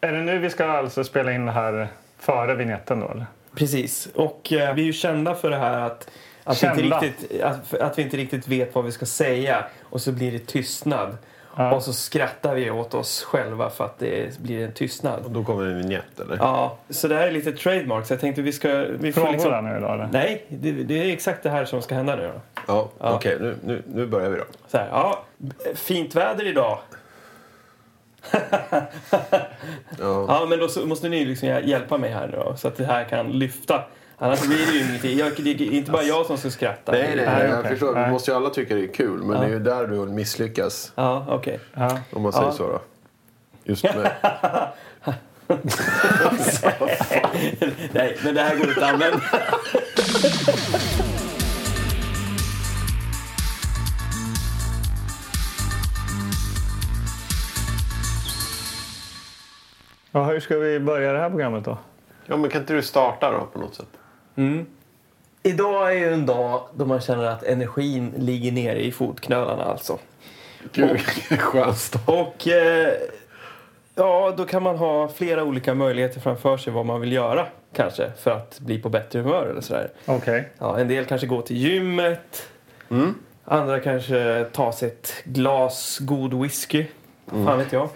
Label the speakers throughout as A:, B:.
A: Är det nu vi ska alltså spela in det här före vignetten då? Eller?
B: Precis. Och eh, vi är ju kända för det här att, att, vi inte
A: Kända.
B: riktigt, att, att vi inte riktigt vet vad vi ska säga och så blir det tystnad. Och så skrattar vi åt oss själva för att det blir en tystnad.
C: Då kommer en vignett eller?
B: Ja, så det här är lite trademark så jag tänkte vi ska... Vi
A: Frågor
B: får liksom,
A: nu idag eller?
B: nej, det, det är exakt det här som ska hända nu då.
C: Ja, Okej, nu, nu, nu börjar vi då.
B: Så här, ja, fint väder idag.
C: Ja.
B: Ja, men då så måste ni liksom hjä- hjälpa mig här nu då, så att det här kan lyfta. Annars blir det ju ingenting. Jag, det är inte bara jag som ska skratta.
C: Nej, nej, nej, jag
A: okej.
C: förstår.
A: Nej.
C: Vi måste ju alla tycka det är kul, men det är ju där du misslyckas,
B: Ja, okej.
A: Ja.
C: om man säger
B: Ja.
C: så. Då. Just med.
B: Nej, men det här går inte att använda.
A: Ja, hur ska vi börja det här programmet då?
C: Ja, men kan inte du starta då på något sätt?
B: Idag är ju en dag då man känner att energin ligger nere i fotknölarna alltså.
C: Gud, vilken skön start.
B: Och eh, ja, då kan man ha flera olika möjligheter framför sig vad man vill göra kanske för att bli på bättre humör eller sådär.
A: Okej.
B: Ja, en del kanske går till gymmet. Mm. Andra kanske tar sig ett glas god whisky. Fan vet jag.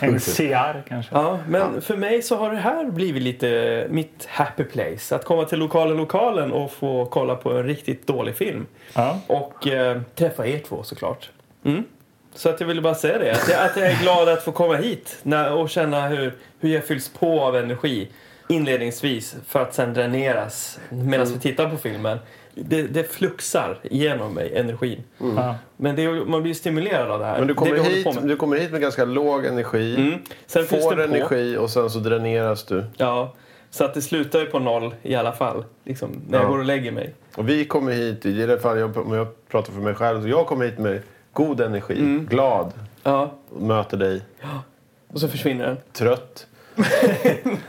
A: En CR kanske?
B: Ja, men för mig så har det här blivit lite mitt happy place. Att komma till lokala lokalen och få kolla på en riktigt dålig film.
A: Ja.
B: Och eh, träffa er två såklart. Mm. Så att jag ville bara säga det. Att jag, att jag är glad att få komma hit när, och känna hur, hur jag fylls på av energi inledningsvis för att sen dräneras medan
C: Mm.
B: vi tittar på filmen. Det, det fluxar genom mig, energin.
A: Ja.
B: Men det, är ju- man blir ju stimulerad av det här.
C: Men du kommer,
B: det vi håller
C: hit,
B: på med.
C: du kommer hit med ganska låg energi,
B: Mm. Sen fylls
C: får
B: den på.
C: energi och sen så dräneras du.
B: Ja, så att det slutar ju på noll i alla fall. Liksom, när jag
C: Ja.
B: går och lägger mig.
C: Och vi kommer hit, i alla fall jag, om jag pratar för mig själv, så jag kommer hit med god energi, glad,
B: Ja,
C: och möter dig,
B: och så försvinner den.
C: trött.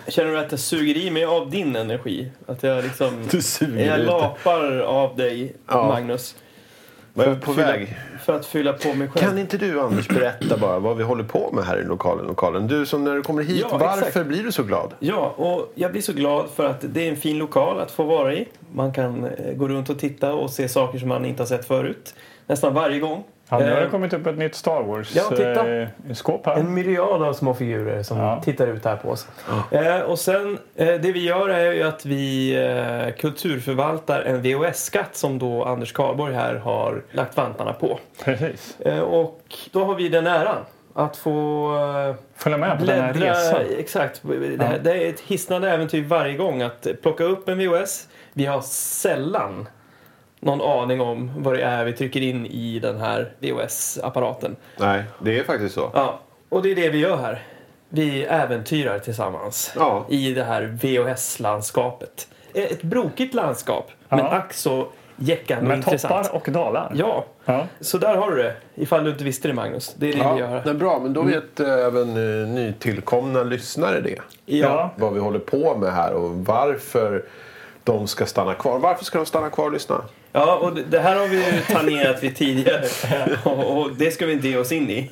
B: Känner du att jag suger i mig av din energi? Att jag liksom...
C: Du suger
B: Jag
C: ut det.
B: lapar av dig,
C: Ja.
B: Magnus.
C: Vad är vi på
B: Fylla-
C: väg?
B: För att fylla på mig själv.
C: Kan inte du Anders berätta bara vad vi håller på med här i lokalen? lokalen? Du som när du kommer hit,
B: Ja,
C: varför
B: exakt.
C: blir du så glad?
B: Ja, och jag blir så glad för att det är en fin lokal att få vara i. Man kan eh, gå runt och titta och se saker som man inte har sett förut. Nästan varje gång.
A: Ja, nu har det
B: Eh,
A: kommit upp ett nytt Star Wars
B: Ja, titta.
A: eh, skåp här.
B: En myriad av små figurer som
A: Ja.
B: tittar ut här på oss. Eh, och sen, eh, det vi gör är ju att vi eh, kulturförvaltar en VHS-skatt som då Anders Karlborg här har lagt vantarna på.
A: Precis.
B: Eh, och då har vi den äran att få eh,
A: Följa med på den här
B: bläddra...
A: resan.
B: Exakt. Det, här,
A: Ja.
B: det är ett hisnande äventyr varje gång att plocka upp en VHS. Vi har sällan någon aning om vad det är vi trycker in i den här VHS-apparaten.
C: Nej, det är faktiskt så.
B: Ja, och det är det vi gör här. Vi äventyrar tillsammans
C: Ja.
B: i det här VHS-landskapet. Eh, Ett brokigt landskap, men
A: Ja.
B: ack så jäckande och
A: Med
B: intressant.
A: toppar och dalar.
B: Ja,
A: Ja.
B: så där har du det. Ifall du inte visste det, Magnus. Det är det vi gör
C: Ja,
B: här.
C: men bra, men då vet eh, även eh, nytillkomna lyssnare det.
A: Ja.
C: Vad vi håller på med här och varför de ska stanna kvar. Varför ska de stanna kvar och lyssna?
B: Ja, och det- det här har vi ju tangerat vid tidigare och, och det ska vi inte ge oss in i.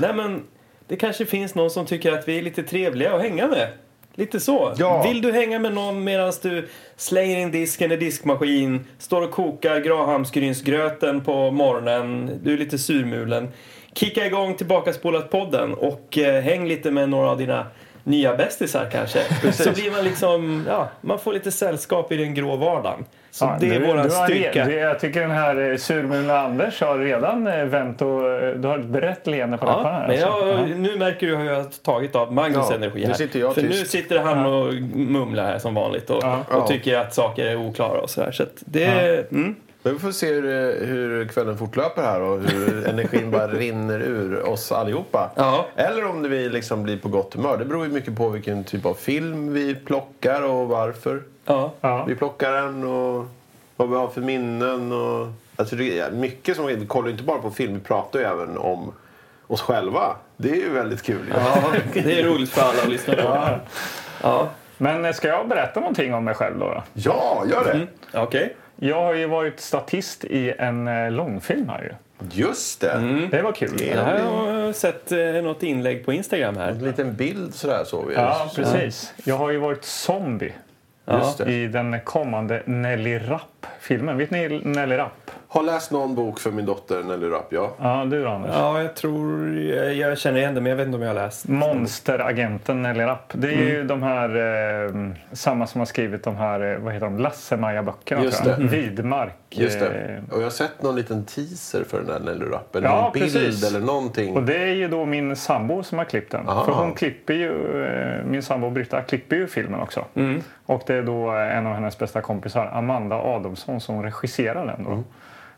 B: Nej, men det kanske finns någon som tycker att vi är lite trevliga att hänga med. Lite så.
C: Ja.
B: Vill du hänga med någon medan du slänger in disken i diskmaskin, står och kokar grahamsgrynsgröten på morgonen, du är lite surmulen. Kicka igång Tillbaka spolat podden och eh, häng lite med några av dina nya bästisar kanske. Så blir man liksom, ja, man får lite sällskap i den grå vardagen. Så
A: Ja,
B: det är
A: du-
B: våran
A: du har re-
B: styrka.
A: du- Jag tycker den här eh, surmulna Anders har redan eh, vänt och eh, du har ett brett leende på läpparna.
B: Ja,
A: här,
B: men
A: alltså.
B: jag,
A: Ja.
B: nu märker du hur jag har tagit av Magnus
C: Ja,
B: energi
C: nu
B: här.
C: sitter jag
B: För nu
C: tyst.
B: sitter han och mumlar här som vanligt och,
A: Ja.
B: och
C: Ja.
B: tycker att saker är oklara och sådär. Så att det... Mm.
C: Men vi får se hur, eh, hur kvällen fortlöper här och hur energin bara rinner ur oss allihopa.
B: Ja.
C: Eller om vi liksom blir på gott humör. Det beror ju mycket på vilken typ av film vi plockar och varför.
B: Ja.
A: Ja.
C: Vi plockar den och vad vi har för minnen. Och, alltså det är mycket som, vi kollar ju inte bara på film, vi pratar ju även om oss själva. Det är ju väldigt kul. ju.
B: ja, det är roligt för alla att lyssna på. Ja,
A: Men eh, ska jag berätta någonting om mig själv då? då?
C: Ja, gör det!
A: Mm.
B: okej.
A: Jag har ju varit statist i en eh, långfilm här ju.
C: Just det!
A: Mm. Det var kul.
C: Mm. Det
B: Det här har jag sett eh, något inlägg på Instagram här.
C: En liten bild sådär såg vi.
A: Ja, precis. Jag har ju varit zombie
C: Just det.
A: i den kommande Nelly Rapp-filmen. Vet ni Nelly Rapp?
C: Har läst någon bok för min dotter Nelly Rapp, ja.
A: Ja, du då, Anders?
B: Ja, jag tror... Jag, jag känner igen det, men jag vet inte om jag har läst.
A: Monsteragenten Nelly Rapp. Det är ju de här, eh, samma som har skrivit de här, eh, vad heter de, Lasse-Maja-böckerna
C: Just
A: tror jag.
C: det. Mm.
A: Vidmark.
C: Just
A: eh,
C: det. Och jag har sett någon liten teaser för den där Nelly Rapp. Eller
A: Ja,
C: någon bild
A: precis.
C: eller någonting.
A: Och det är ju då min sambo som har klippt den.
C: Aha.
A: För hon klipper ju, eh, min sambo Britta klipper ju filmen också. Och det är då eh, en av hennes bästa kompisar, Amanda Adamsson, som regisserar den. Då.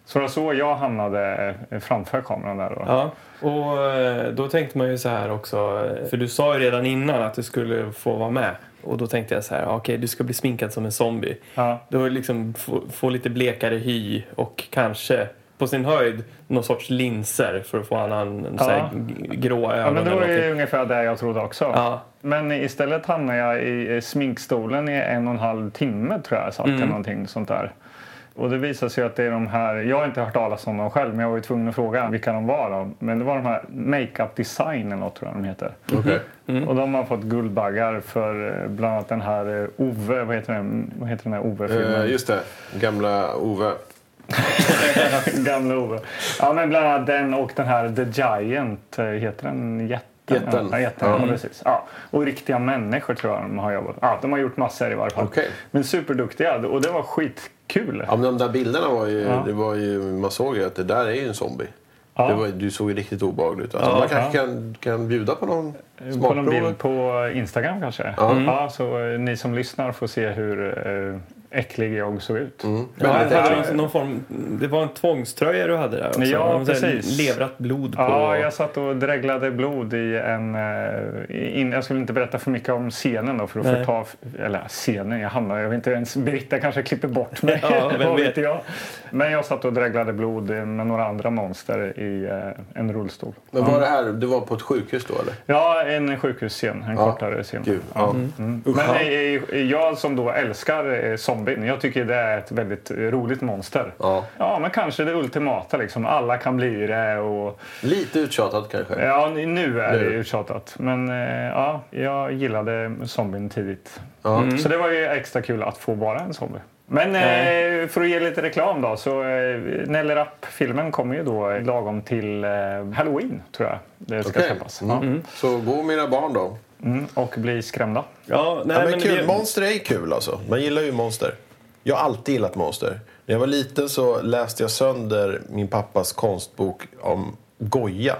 A: Så det var så jag hamnade eh, framför kameran där. Då.
B: Ja, och eh, då tänkte man ju så här också, eh, för du sa ju redan innan att du skulle få vara med. Och då tänkte jag så här, okej du ska bli sminkad som en zombie.
A: Ja.
B: Då liksom få, få lite blekare hy och kanske på sin höjd någon sorts linser för att få annan så här,
A: Ja.
B: g- grå ögon.
A: Ja, men det
B: eller
A: var
B: någonting.
A: ju ungefär det jag trodde också.
B: Ja.
A: Men istället hamnade jag i eh, sminkstolen i en och en halv timme tror jag jag satt eller
C: Mm.
A: någonting sånt där. Och det visade sig att det är de här, jag har inte hört talas om dem själv men jag var ju tvungen att fråga vilka de var då. Men det var de här Makeup Design eller något tror jag de heter.
C: Okej.
A: Och de har fått Guldbaggar för eh, bland annat den här eh, Ove, vad heter den, vad heter den här Ove-filmen?
C: Eh, just det, gamla Ove.
A: Gamla Ove. Ja men bland annat den och den här The Giant, eh, heter den Jätten?
C: Jätten.
A: Ja, jätten. Ja.
C: Mm.
A: precis. Ja. Och riktiga människor tror jag de har jobbat ja, De har gjort massor i varje fall.
C: Okej.
A: Men superduktiga och det var skitkul.
C: Ja, men de där bilderna var ju, det var ju... Man såg ju att det där är ju en zombie.
A: Ja.
C: Det var, du såg ju riktigt obehaglig ut. Alltså, man kanske kan, kan bjuda på någon
A: på någon
C: smakprov. Mm.
A: bild på Instagram kanske? Ja. så eh, ni som lyssnar får se hur eh, äcklig jag såg ut.
B: Ja,
C: Väldigt
B: jag hade
C: äckligt.
B: någon form, det var en tvångströja du hade där också.
A: Ja,
B: Någon sån här
A: precis.
B: Levrat blod på.
A: Ja, jag satt och dreglade blod i en... eh, In, jag skulle inte berätta för mycket om scenen då för att
B: Nej.
A: förta... Eller scenen, jag hamnar... Jag vet inte ens... Britta kanske klipper bort mig.
B: Ja, vem
A: Vad
B: vet.
A: jag. Men jag satt och dreglade blod eh, med några andra monster i eh, en rullstol.
C: Men var det här, du var på ett sjukhus då eller?
A: Ja, en sjukhusscen. En kortare scen.
C: Gud, ja.
A: Mm. Men eh, eh, jag som då älskar eh, zombien, jag tycker det är ett väldigt eh, roligt monster.
C: Ja.
A: ja, men kanske det ultimata liksom. Alla kan bli det och...
C: Lite uttjatat kanske.
A: Ja, nu är
C: Nu.
A: det uttjatat. Men eh, ja, jag gillade zombien tidigt. Mm.
C: Ja.
A: Så det var ju extra kul att få vara en zombie. Men eh, för att ge lite reklam då, så eh, Nelly Rapp-filmen kommer ju då eh, lagom till eh, Halloween, tror jag det ska
C: Okej.
A: släppas.
C: Mm. Så gå med era barn då.
A: Mm, och bli skrämda.
B: Ja, nej,
C: Ja, men
B: men
C: kul.
B: det-
C: Monster är ju kul alltså. Man gillar ju monster. Jag har alltid gillat monster. När jag var liten så läste jag sönder min pappas konstbok om Goya.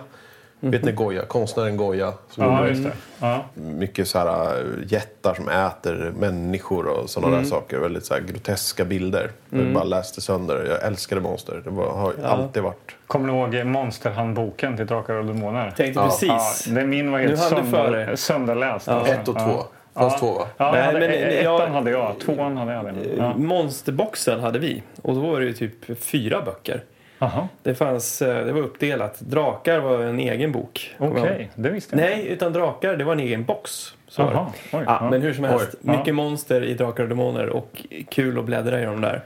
C: Vet ni Goya? Konstnären Goya. Som
A: Ja,
C: gjorde
A: just det. Ja.
C: mycket så här, äh, jättar som äter människor och sådana där saker. Väldigt så här, groteska bilder. Jag bara läste sönder. Jag älskade monster. Det var, har alltid varit...
A: Kommer ni ihåg Monsterhandboken till Drakar och Demoner?
B: tänkte
C: Ja.
A: Ja,
B: precis.
A: det min var helt
B: Nu hann du
A: sönder,
B: före.
A: sönderläst. alltså.
C: Ett och två.
A: Ja.
C: Fanns
A: Ja.
C: två va?
A: Ja,
B: Nej,
A: jag hade,
B: men
A: e-
B: jag- Eh,
A: ettan hade jag, tvåan hade jag. Ja.
B: Monsterboxen hade vi och då var det ju typ fyra böcker.
A: Aha.
B: Det, fanns, eh, det var uppdelat. Drakar var en egen bok. kommer
A: Okej,
B: jag ihåg.
A: det visste jag
B: Nej, utan drakar det var en egen box. Så var det.
A: Jaha, oj,
B: ja,
A: ja.
B: men hur som helst,
A: Oj, ja.
B: mycket monster i Drakar och Demoner och kul att bläddra i dem där.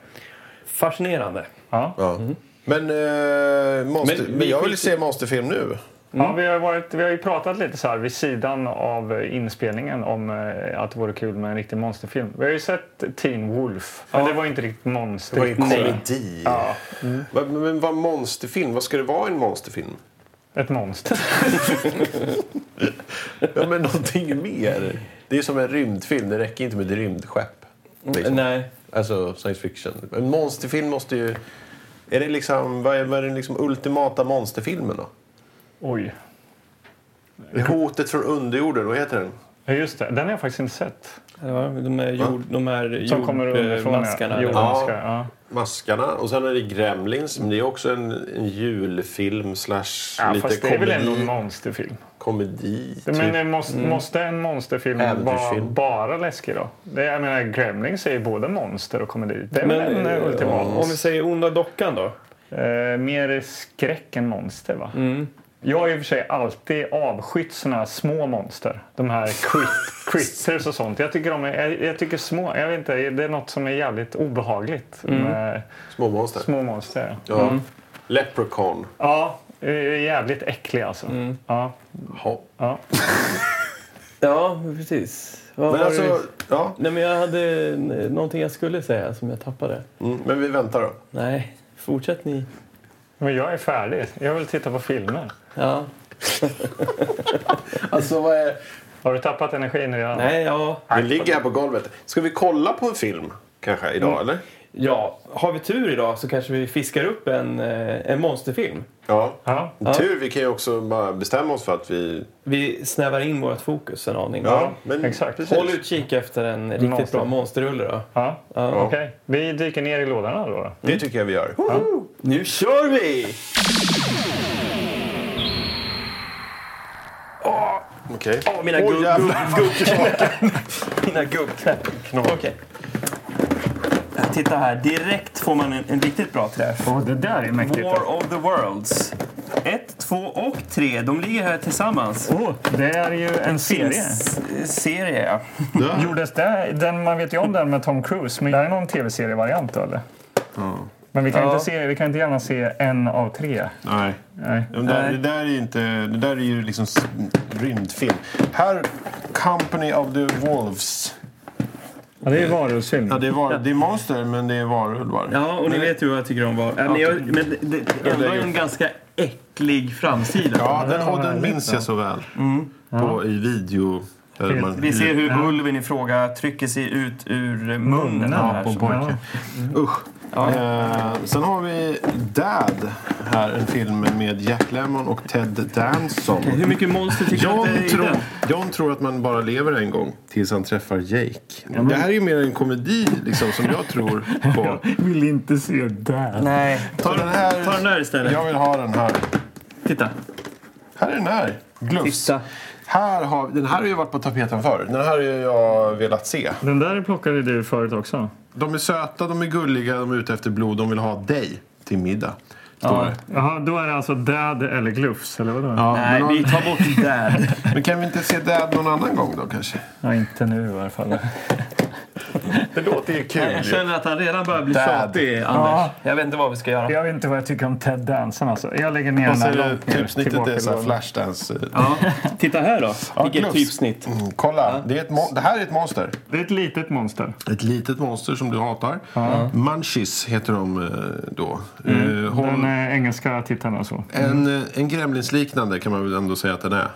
B: Fascinerande.
A: Ja.
C: Ja. Mm. Men, eh, monster,
B: Men
C: men,
B: vi
C: jag vill
B: skiter-
C: se monsterfilm nu.
A: Ja, vi, har varit, vi har ju pratat lite så här vid sidan av eh, inspelningen om eh, att det vore kul med en riktig monsterfilm. Vi har ju sett Teen Wolf, men det var ju inte riktigt monster.
C: Det var ju en
A: Nej.
C: komedi. Va- Men, men Mm. vad monsterfilm? Vad ska det vara i en monsterfilm?
A: Ett monster.
C: Ja, men någonting mer. Det är som en rymdfilm. Det räcker inte med ett rymdskepp. Liksom.
B: Nej.
C: Alltså science fiction. En monsterfilm måste ju... Är det liksom, vad är, vad är den liksom ultimata monsterfilmen då?
A: Oj.
C: Hotet från underjorden, vad heter den?
A: Ja, just det. Den har jag faktiskt inte sett.
B: Det var de här, jord, de här
A: Som kommer underifrån.
B: jordmaskarna.
A: Ja.
B: eller vad?
A: Jordmaskar, ja.
C: Maskarna. Och sen är det Gremlins. Men det är också en, en julfilm slash
A: Ja,
C: lite
A: fast det är väl ändå en
C: komedi.
A: monsterfilm?
C: komedi typ.
A: Men eh, måste, måste en monsterfilm vara
C: Äventyrsfilm.
A: bara läskig då? Det, jag menar, Gremlings är ju både monster och komedi. Det är väl
B: Men
A: en eh, ultimat.
B: om vi säger Onda Dockan då?
A: Eh, mer skräck än monster, va?
B: Mm.
A: Jag har i och för sig alltid avskytt såna här små monster. De här crit- critters och sånt. Jag tycker, de är, jag, jag tycker små... Jag vet
B: Mm.
A: inte, det är något som är jävligt obehagligt med
C: Småmonster.
A: små monster.
C: Ja. Leprechaun.
A: Ja, eh, jävligt äcklig alltså.
B: Mm.
A: Ja,
C: Ja.
A: ja.
B: Ja, precis. Vad
C: Men
B: var
C: alltså,
B: det?
C: ja.
B: Nej, men jag hade eh, någonting jag skulle säga som jag tappade.
C: Mm, men vi väntar då.
B: Nej, fortsätt ni.
A: Men jag är färdig. Jag vill titta på filmer.
B: Ja.
C: Alltså, vad är...
A: Har du tappat energin redan?
B: Nej, ja.
C: Vi ligger här på golvet. Ska vi kolla på en film kanske idag,
A: Mm.
C: eller?
B: Ja, har vi tur idag så kanske vi fiskar upp en, eh, en monsterfilm.
C: Ja.
A: Ja.
C: Tur, vi kan ju också bara bestämma oss för att vi...
B: Vi snävar in vårt fokus en aning.
C: Ja, men
A: exakt.
C: Precis.
B: Håll utkik efter en riktigt
A: Monster.
B: bra monsterrulle då.
A: Ja.
B: Ja.
A: Okej, vi dyker ner i lådorna då. då.
C: Det tycker jag vi gör.
B: Nu kör vi!
C: Okej.
B: Åh, mina
C: Åh,
B: gubb-
C: jävlar.
B: Mina gubbknäppar. Okej. Titta här, direkt får man en, en riktigt bra träff.
A: Åh, det där är mäktigt.
B: War of the Worlds. Ett, två och tre. De ligger här tillsammans.
A: Åh, det är ju en serie.
B: S- Serie, ja.
A: Gjordes det, den, man vet ju om den med Tom Cruise, men det här är någon tv-serievariant då, eller? Men vi kan,
B: Ja.
A: inte se, vi kan inte gärna se en av tre.
C: Nej.
A: Nej.
C: Det där,
B: Nej.
C: det där är ju inte... Det där är ju liksom s- rymdfilm. Här, Company of the Wolves.
A: Ja, det är ju varulvsfilm.
C: Ja, det är, var, det är monster, men det är varulvar.
B: Ja, och ni vet ju vad jag tycker om var. Men, jag, men det, det, ändå en ganska äcklig framsida.
C: Ja,
A: det
C: den,
A: var
C: och den
A: härligt
C: minns jag så väl. På, I video. Där man,
B: Vi ser hur ulven i fråga trycker sig ut ur munnen.
A: Munnen,
B: här,
C: på en
B: som-
C: pojke. Usch. Eh, sen har vi Dad. Här, en film med Jack Lemmon och Ted Danson.
B: Hur mycket monster tycker du att
C: John,
B: det är i
C: tror,
B: den?
C: John tror att man bara lever en gång tills han träffar Jake. Det här är ju mer en komedi liksom, som jag tror på.
A: vill inte se där.
B: Nej.
C: Så
B: Ta den här, ta den här istället.
C: Jag vill ha den här.
B: Titta.
C: Här är den här. Glufs.
B: Titta.
C: Här har, den här har ju varit på tapeten förr. Den här har ju jag velat se.
A: Den där plockade du förut också.
C: De är söta, de är gulliga, de är ute efter blod. De vill ha dig till middag. Står det.
A: Jaha, då är det alltså Dad eller Glufs, eller vadå?
C: Ja,
B: Nej,
C: men,
B: vi tar bort där.
C: men kan vi inte se Dad någon annan gång då kanske?
A: Ja, inte nu i alla fall.
C: Det låter ju kul.
B: Jag känner att han redan börjar bli
C: Dad.
B: tjatig, Anders.
A: Ja.
B: Jag vet inte vad vi ska göra.
A: Jag vet inte vad jag tycker om Ted Danson alltså. Jag lägger ner den
C: Så är
A: här
C: det,
A: långt ner.
C: typsnittet
A: tillbaka
C: typ är
A: i
C: så här
A: lådan.
C: Flashdance. eh,
B: Ja. Titta här då. Vilket
C: Glufs.
B: typsnitt.
C: Mm, kolla, det, är ett mon- det här är ett monster.
A: Det är ett litet monster.
C: Ett litet monster som du hatar. Munchies heter de eh, då.
B: Mm.
C: Eh, håll-
A: Den eh, engelska titeln alltså.
C: en, eh, en gremlinsliknande kan man väl ändå säga att den är.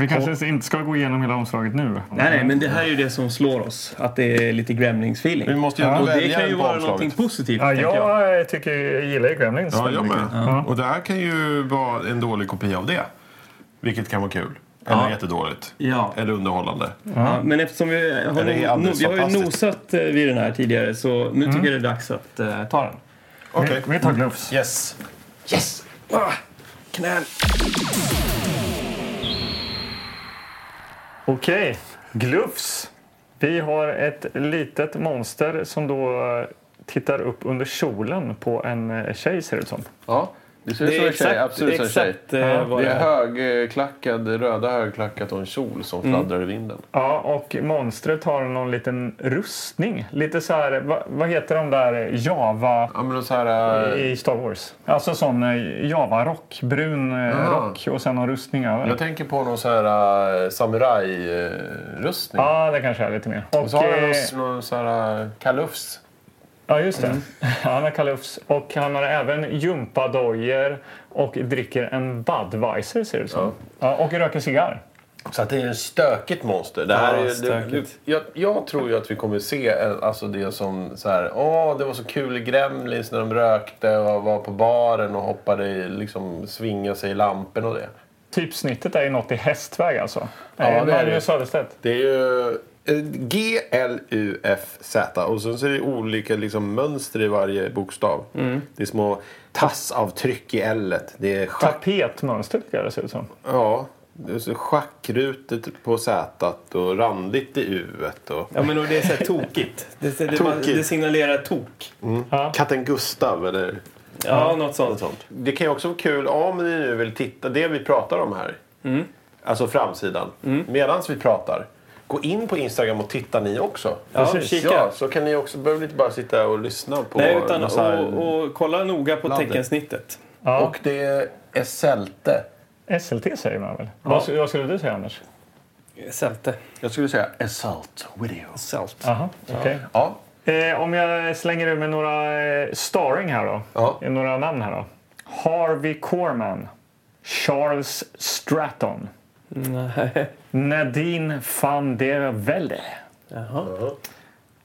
A: Vi kanske inte ska gå igenom hela omslaget nu.
B: Nej, nej, men det här är ju det som slår oss. Att det är lite Gremlings-feeling.
C: Vi måste ju ändå
B: Och det
C: välja
B: kan ju
C: en på
B: vara någonting
C: omslaget.
B: positivt,
A: Ja,
B: tänker jag.
A: jag eh, tycker, jag gillar ju Gremlins.
C: Ja,
A: väldigt
C: jag med.
A: mycket. Ja.
C: Och det här kan ju vara en dålig kopia av det. Vilket kan vara kul. Eller
B: Ja.
C: jättedåligt.
B: Ja.
C: Eller underhållande.
B: Ja, men eftersom vi har,
C: det är
B: no, no,
C: alldeles
B: vi har ju
C: fantastiskt.
B: nosat eh, vid den här tidigare så nu tycker jag det är dags att eh, ta den.
C: Okej.
A: Vi, vi tar Glufs.
C: Yes.
B: Yes! Ah, knän!
A: Okej, Glufs. Vi har ett litet monster som då eh, tittar upp under kjolen på en eh, tjej ser det ut som.
D: Ja, det ser ut
B: Det
D: som
B: är
D: en tjej.
B: exakt,
D: Absolut som en tjej.
B: exakt eh, vad
D: Det
B: det
D: är
B: är.
D: högklackad, röda högklackat och en kjol som fladdrar i vinden.
A: Ja, och monstret har någon liten rustning. Lite så här, va, vad heter de där eh, Java
D: Ja, men så här... eh,
A: i Star Wars? Alltså sån eh, Java-rock, brun eh,
D: Ah.
A: rock och sen någon rustning över.
D: Jag tänker på någon så här eh, samurajrustning.
A: Ja, det kanske är lite mer. Och,
D: Och så har han
A: eh,
D: någon- någon så här eh, kalufs.
A: Ja, just det. Han har kalufs och han har även gympadojor och dricker en Budweiser ser det ut som. Ja, och röker cigarr.
D: Så att det är ett stökigt monster. Det här är,
B: Ja,
D: ju- det, det,
B: stökigt.
D: jag, jag tror ju att vi kommer se eh, alltså det som så här, åh det var så kul i Gremlins när de rökte och var på baren och hoppade i, liksom svingade sig i lampen och det.
A: Typsnittet är ju något i hästväg alltså.
D: det är
A: Eh,
D: det.
A: Magnus Söderstedt.
D: Det är ju...
C: Eh, G-L-U-F-Z. Och sen så är det olika liksom, mönster i varje bokstav. Det är små tassavtryck i L. Det är schack,
A: Tapetmönster tycker jag det ser ut som.
C: ja, det är så schackrutet på Z och randigt i U. Och...
B: Ja, men och det är så här tokigt. Det, det, det,
C: Tokigt.
B: det signalerar tok.
C: Katten Gustav eller
B: Ja, något sånt.
C: något sånt. Det kan ju också vara kul om ni nu vill titta, det vi pratar om här.
B: Mm.
C: Alltså framsidan. Medan vi pratar. Gå in på Instagram och titta ni också.
B: Ja,
A: Precis.
B: kika.
D: Ja, så kan ni också, behöver ni inte bara sitta och lyssna på...
B: Nej, utan
D: massa-
B: och, och kolla noga på
D: Ladder.
B: teckensnittet.
A: Ja.
C: Och det är sälte.
A: SLT säger man väl? Vad, sk- vad skulle du säga Anders?
B: Sälte.
C: Jag skulle säga assault video.
B: Salt.
A: Aha, okej.
C: Ja.
A: eh, om jag slänger ur med några eh, starring här då.
C: Ja.
A: Eh, Några namn här då. Harvey Korman. Charles Stratton.
B: Nej.
A: Nadine van der Velde.
B: Jaha.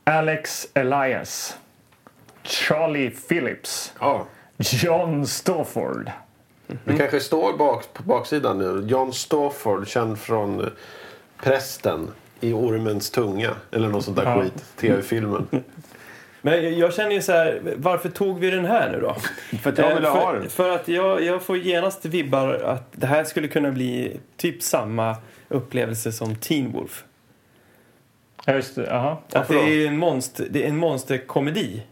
A: Alex Elias. Charlie Phillips.
C: ja.
A: John Stafford.
C: Det kanske står bak, på baksidan nu. John Stafford, känd från eh, prästen i Ormens tunga. Eller något sånt där
A: Ja.
C: skit. TV-filmen.
B: Men jag- jag känner ju så här, varför tog vi den här nu då?
C: För att jag
B: Eh,
C: ville
B: för,
C: ha den.
B: För att jag, jag får genast vibbar att det här skulle kunna bli typ samma upplevelse som Teen Wolf.
A: Ja, just det. Aha.
B: Att det
C: då?
B: är en, monster, det är en monsterkomedi.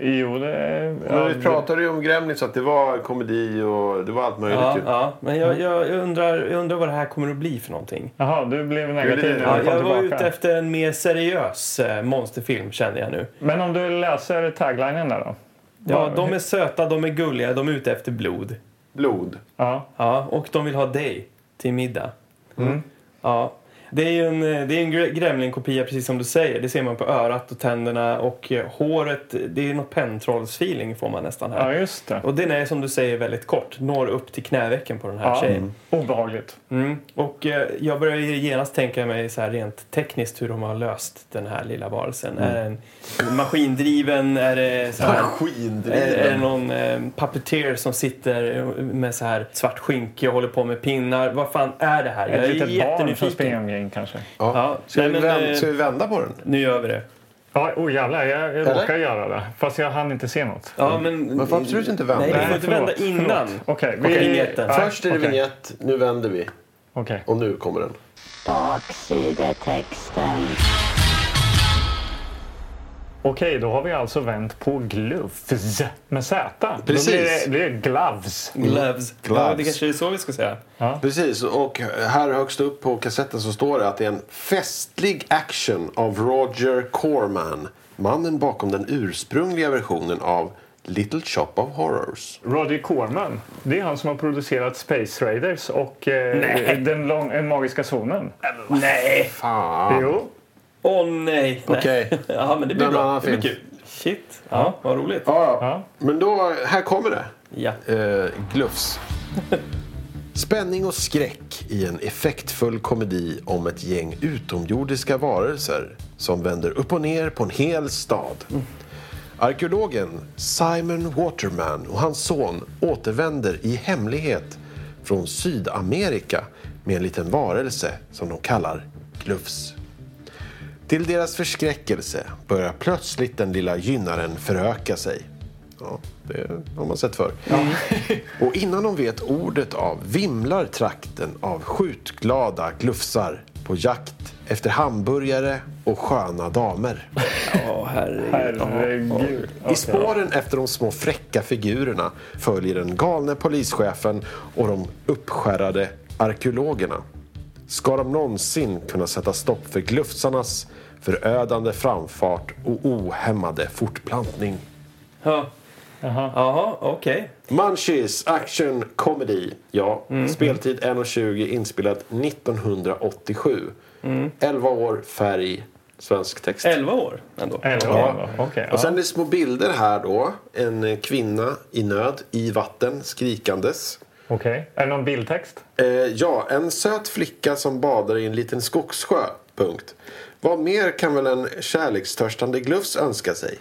A: Jo, det...
C: Men
A: Ja,
C: vi pratade ju om Gremlins att det var komedi och det typ. var allt möjligt.
B: Ja,
C: ju.
B: ja. Men jag, jag, jag, undrar, jag undrar vad det här kommer att bli för någonting.
A: Jaha, du blev
C: Jo,
A: negativ när
C: det-
B: Ja,
A: du kom
B: jag var
A: tillbaka.
B: ute efter en mer seriös eh, monsterfilm kände jag nu.
A: Men om du läser taglinen där då?
B: Ja,
A: Vad-
B: de är söta, de är gulliga, de är ute efter blod.
C: Blod.
A: Ja.
B: Ja, och de vill ha dig till middag.
A: Mm.
B: Ja. Det är ju en, eh, det är en gre- Gremlin-kopia precis som du säger. Det ser man på örat och tänderna och eh, håret. Det är något pentrollsfeeling får man nästan här.
A: ja, just det.
B: Och den är som du säger väldigt kort. Når upp till knävecken på den här
A: Ja.
B: tjejen.
A: Obehagligt.
B: Mm. Och eh, jag börjar ju genast tänka mig så här rent tekniskt hur de har löst den här lilla varelsen. Är den maskindriven? Är det så här... Är, är det
C: Maskindriven.
B: någon eh, puppeteer som sitter med så här svart skynke och håller på med pinnar? Vad fan är det här? Jag
A: Ett
B: är
A: litet barn som springer
B: jättenyfiken.
A: omkring kanske.
C: Ja.
B: Ja,
C: Ska,
B: nej,
C: vi
B: men,
C: vända,
B: eh,
C: ska vi vända på den?
B: Nu gör vi det.
A: Ja, oh, jävlar, jag, jag
C: Eller?
A: råkar göra det. Fast jag hann inte se något.
B: Ja, men,
C: Man får absolut inte vända.
B: Nej, du
A: Nej,
B: får inte
A: förlåt,
B: vända innan.
A: förlåt. Okej,
B: Okej,
A: vi...
B: vignetten.
A: Nej,
C: Först är det
A: okej,
C: vignett, nu vänder vi.
A: Okej.
C: Och nu kommer den.
E: Baksidetexten.
A: Okej, då har vi alltså vänt på gluffs med Z.
C: Precis.
A: Då blir det, blir det gloves.
B: Gloves. Ja, det
C: Gloves.
B: kanske är så vi ska säga.
C: Precis, och här högst upp på kassetten så står det att det är en festlig action av Roger Corman. Mannen bakom den ursprungliga versionen av Little Shop of Horrors.
A: Roger Corman, det är han som har producerat Space Raiders och eh, den, lång, den magiska zonen.
B: Nej!
C: Fan.
A: Jo.
B: Åh nej! nej.
C: Okej.
B: ja, men det blir
C: Någon
B: bra.
C: annan
B: Det blir
C: film.
B: kul. Shit. Ja, vad roligt.
C: Ja,
A: Ja.
C: ja. Men då, här kommer det.
B: Ja.
C: Eh, glufs. Spänning och skräck i en effektfull komedi om ett gäng utomjordiska varelser som vänder upp och ner på en hel stad. Arkeologen Simon Waterman och hans son återvänder i hemlighet från Sydamerika med en liten varelse som de kallar glufs. Till deras förskräckelse börjar plötsligt den lilla gynnaren föröka sig. Ja, det har man sett förr. Och innan de vet ordet av vimlar trakten av skjutglada glufsar på jakt efter hamburgare och sköna damer.
B: Åh, herregud.
A: Herregud.
C: I spåren efter de små fräcka figurerna följer den galne polischefen och de uppskärrade arkeologerna. Ska de någonsin kunna sätta stopp för glufsarnas förödande framfart och ohämmade fortplantning?
B: Ja. Jaha, okej.
C: Munchies Action Comedy. Ja, speltid 1.20, inspelat 1987. 11 år, färg, svensk text.
B: 11 år ändå.
A: Eller, ja. Okej.
C: Och sen är det små bilder här då. En eh, kvinna i nöd, i vatten, skrikandes.
A: ja. Okej. Är det någon bildtext?
C: Eh, ja, en söt flicka som badar i en liten skogssjö. Punkt. Vad mer kan väl en kärlekstörstande glufs önska sig?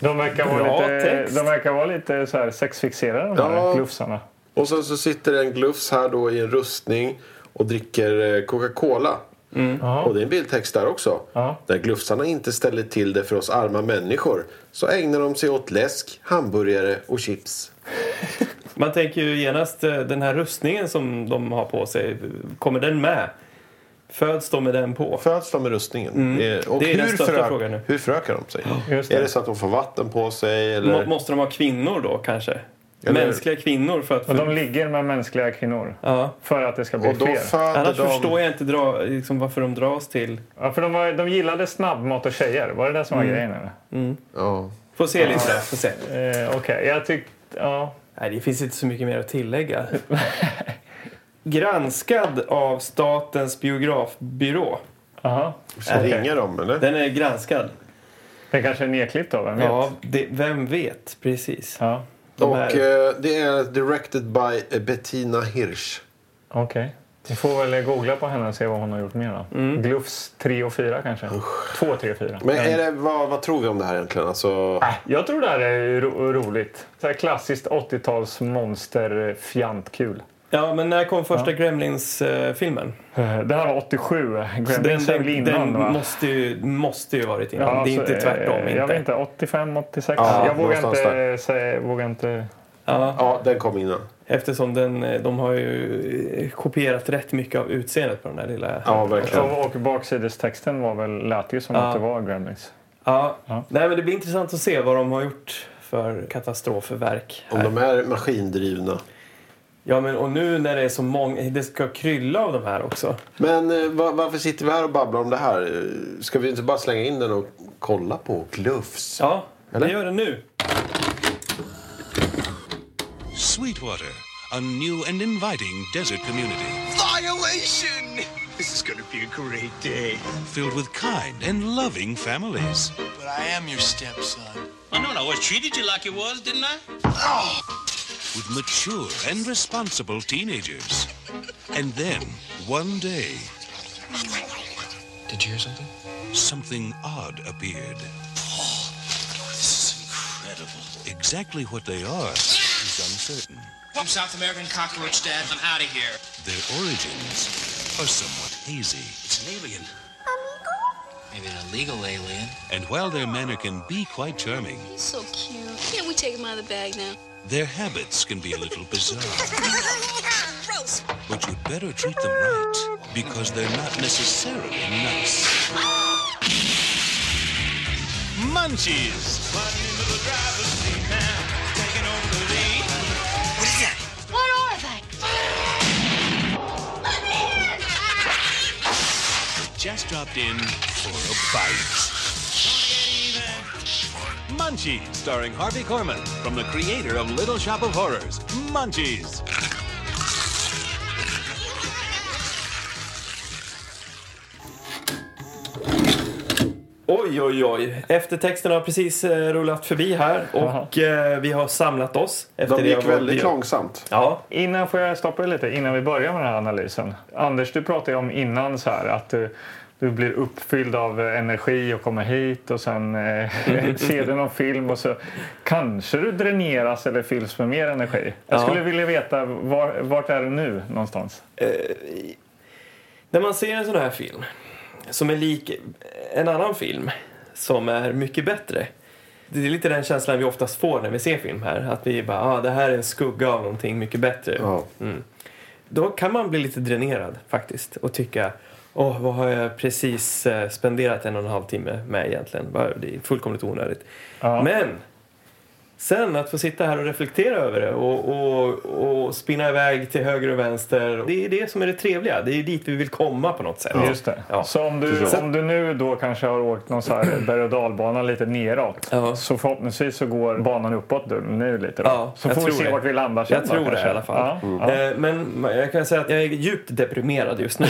A: De verkar
B: Bra
A: vara lite,
B: text.
A: de verkar vara lite så här sexfixerade de här
C: Ja.
A: glufsarna.
C: Och sen så sitter det en glufs här då i en rustning och dricker eh, Coca-Cola. Och det är en bildtext där också.
A: Mm. Ja.
C: När glufsarna inte ställer till det för oss arma människor så ägnar de sig åt läsk, hamburgare och chips.
B: Man tänker ju genast eh, den här rustningen som de har på sig, kommer den med? Föds de med den på?
C: Föds de med rustningen? Eh, Och
B: Mm. Det är den
C: hur,
B: största
C: frö-
B: frågan nu.
C: hur frökar de sig?
A: Just det.
C: Är det så att de får vatten på sig?
B: Må,
C: Eller?
B: måste de ha kvinnor då kanske?
C: Eller-
B: Mänskliga kvinnor för att...
A: Och de ligger med mänskliga kvinnor
B: Ja.
A: för att det ska bli
C: och då
A: fler.
C: föder
B: Annars
C: de...
B: förstår jag inte dra, liksom, varför de dras till.
A: Ja, för de, var, de gillade snabbmat och tjejer. Var det det
C: Mm.
A: som var grejen? Eller?
C: Ja.
B: Får se lite. Får se.
A: Eh, Okej, jag tyckte... Ja.
B: Nej, det finns inte så mycket mer att tillägga. Granskad av Statens biografbyrå.
A: Aha.
C: Ska
B: Okej.
C: ringa dem eller?
B: Den är granskad.
A: Det kanske är nedklippt då, vem vet?
B: Ja, det, vem vet? Precis.
A: Ja.
B: De
C: och
B: här-
C: eh, det är directed by eh, Bettina Hirsch.
A: Okej. Vi får väl googla på henne och se vad hon har gjort mer då. Glufs 3 och 4 kanske? 2, 3 och 4.
C: Mm. Men är det, vad, vad tror vi om det här egentligen? Alltså,
A: Jag tror det här är ro- roligt. Så här klassiskt eh, 80-tals monster-fjantkul.
B: Ja, men när kom första Gremlins-filmen?
A: Eh, Det här var 87. Gremlins är väl
B: den,
A: innan va?
B: måste, ju, måste ju varit innan.
A: Ja,
B: det är
A: så,
B: inte
A: eh,
B: tvärtom. Inte.
A: Jag vet inte, 85, 86.
C: Ja,
A: jag vågar
C: någonstans
A: inte, säga, vågar inte...
B: Ja,
C: ja, den kom innan.
B: eftersom den, eh, de har ju eh, kopierat rätt mycket av utseendet på den där lilla...
C: Ja, verkligen.
A: Och, och baksidestexten var väl, lät ju som
B: Ja.
A: att det var Gremlins.
B: Ja.
A: Ja.
B: Nej, men det blir intressant att se vad de har gjort för katastrofverk.
C: Om
B: här.
C: de är maskindrivna.
B: Ja, men och nu när det är så många... Det ska krylla av de här också.
C: Men eh, va- varför sitter vi här och babblar om det här? Eh, Ska vi inte bara slänga in den och kolla på Glufs?
B: Ja,
C: Eller?
B: vi gör det nu.
E: Sweetwater, a new and inviting desert community
F: Violation! This is gonna be a great day.
E: filled with kind and loving families.
F: But I am your stepson.
G: I know, I was treated you like you was, didn't I?
E: with mature and responsible teenagers. And then, one day,
F: Did you hear something?
E: something odd appeared.
F: This is incredible.
E: Exactly what they are is uncertain.
G: I'm South American cockroach dad. I'm out of here.
E: Their origins are somewhat hazy.
G: It's an alien. Amigo? Maybe an illegal alien.
E: And while their manner can be quite charming,
H: He's so cute. Can't we take him out of the bag now?
E: their habits can be a little bizarre.
H: Gross.
E: But you'd better treat them right, because they're not necessarily nice.
F: Munchies! What is that?
H: What are they?
E: Just dropped in for a bite. Munchies, starring Harvey Korman, from the creator of Little Shop of Horrors. Munchies.
B: Oj, oj, oj. Eftertexten har precis eh, rullat förbi här och eh, vi har samlat oss. Efter
C: De
B: det
C: gick
B: har varit
C: väldigt
B: bio.
C: långsamt.
B: Ja,
A: Innan får jag stoppa dig lite, innan vi börjar med den här analysen. Anders, du pratade ju om innan så här att du, du blir uppfylld av eh, energi och kommer hit och sen eh, ser du någon film och så kanske du dräneras eller fylls med mer energi. Jag
B: Ja.
A: skulle vilja veta, var, vart är du nu någonstans?
B: när man ser en sån här film som är lik en annan film som är mycket bättre. Det är lite den känslan vi oftast får när vi ser film här. Att vi bara, ah, det här är en skugga av någonting mycket bättre.
C: Ja.
B: Då kan man bli lite dränerad faktiskt och tycka, åh, vad har jag precis eh, spenderat en och en halv timme med egentligen? Vad- Det är fullkomligt onödigt.
A: Ja.
B: Men sen att få sitta här och reflektera över det och, och, och spinna iväg till höger och vänster. Det är det som är det trevliga. Det är dit vi vill komma på något sätt.
A: Just det.
B: Ja.
A: Så om du,
B: Så-
A: om du nu då kanske har åkt någon så här berg och dalbana lite neråt
B: Ja.
A: så förhoppningsvis så går banan uppåt nu- nu lite. Då.
B: Ja,
A: så
B: jag
A: får vi
B: tror
A: se
B: det.
A: vart vi landar sen.
B: Jag
A: då,
B: tror det
A: kanske.
B: i alla fall.
A: Ja, ja.
B: Eh, Men jag kan säga att jag är djupt deprimerad just nu.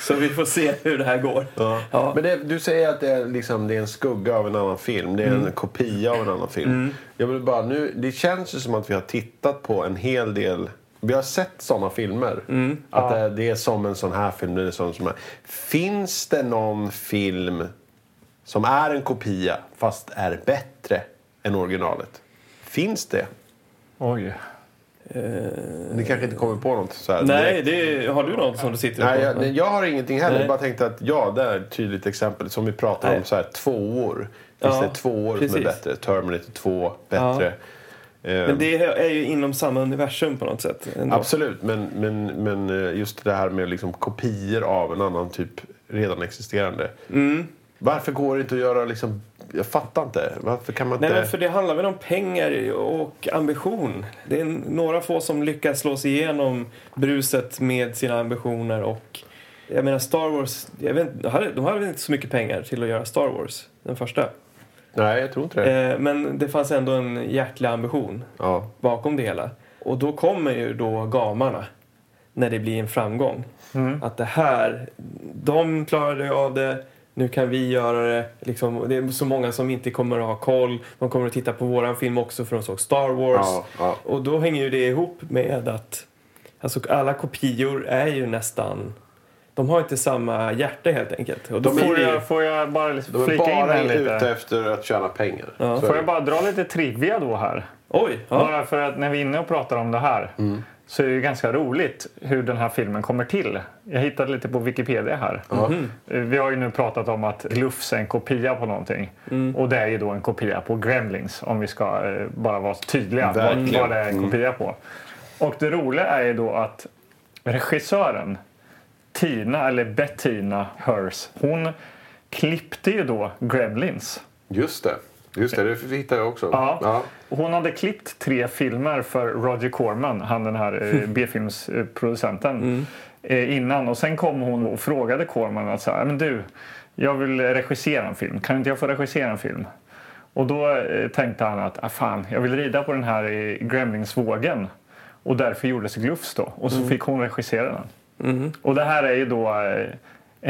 B: så vi får se hur det här går. Ja.
C: Men det, du säger att det är, liksom, det är en skugga av en annan film. Det är
B: Mm.
C: en kopia av en annan film. Jag vill bara, nu, det känns ju som att vi har tittat på en hel del... Vi har sett såna filmer.
B: Mm.
C: Att det, det är som en sån här film. Det är sån som här. Finns det någon film som är en kopia fast är bättre än originalet? Finns det?
A: Oj.
C: Ni kanske inte kommer på något så här direkt.
B: Eh, Nej, det är, har du något som du sitter
C: Nej,
B: på?
C: jag, nej, jag har ingenting heller.
B: Nej.
C: Jag bara tänkte att ja, det är ett tydligt exempel. Som vi pratar
B: Nej.
C: om, så här, tvåor. Finns
B: Ja,
C: det tvåor som
B: precis.
C: är bättre? Terminator 2, bättre. Eh,
B: Men det är ju inom samma universum på något sätt. ändå.
C: Absolut, men, men, men eh, just det här med liksom kopior av en annan typ redan existerande.
B: Mm.
C: Varför går det inte att göra liksom... Jag fattar inte. Varför kan man
B: Nej,
C: inte...
B: men för det handlar väl om pengar och ambition. Det är n- några få som lyckas slå sig igenom bruset med sina ambitioner och jag menar Star Wars, jag vet, inte, de hade- de hade väl inte så mycket pengar till att göra Star Wars, den första.
C: Nej, jag tror inte det.
B: Eh, Men det fanns ändå en hjärtlig ambition
C: Ja.
B: bakom det hela. Och då kommer ju då gamarna när det blir en framgång.
C: Mm.
B: Att det här, de klarade av det, nu kan vi göra det. Liksom, och det är så många som inte kommer att ha koll. De kommer att titta på våran film också för de såg Star Wars.
C: Ja, ja.
B: Och då hänger ju det ihop med att alltså, alla kopior är ju nästan... De har inte samma hjärta helt enkelt. Och då
C: De är
A: Får
B: blir det ju-
A: jag, får jag bara
C: De är
A: flika in
C: bara
A: här
C: ute
A: lite?
C: efter att tjäna pengar. Så är
A: Får
C: det.
A: jag bara dra lite trivia då här?
B: Oj! Ja.
A: Bara för att när vi är inne och pratar om det här så är det ju ganska roligt hur den här filmen kommer till. Jag hittade lite på Wikipedia här. Eh, Vi har ju nu pratat om att Glufs är en kopia på någonting. Och det är ju då en kopia på Gremlins om vi ska eh, bara vara tydliga vad,
C: Verkligen.
A: vad det är en kopia på. Och det roliga är ju då att regissören Tina, eller Bettina Hers, hon klippte ju då Gremlins.
C: Just det. Just det, det hittar jag också.
A: Ja. Hon hade klippt tre filmer för Roger Corman, han den här eh, B-filmsproducenten, eh, innan. Och sen kom hon och frågade Corman att så här, men du, jag vill regissera en film. Kan inte jag få regissera en film? Och då eh, tänkte han att ah, fan, jag vill rida på den här eh, Gremlingsvågen. Och därför gjordes Glufs då. Och så fick hon regissera den. Och det här är ju då eh,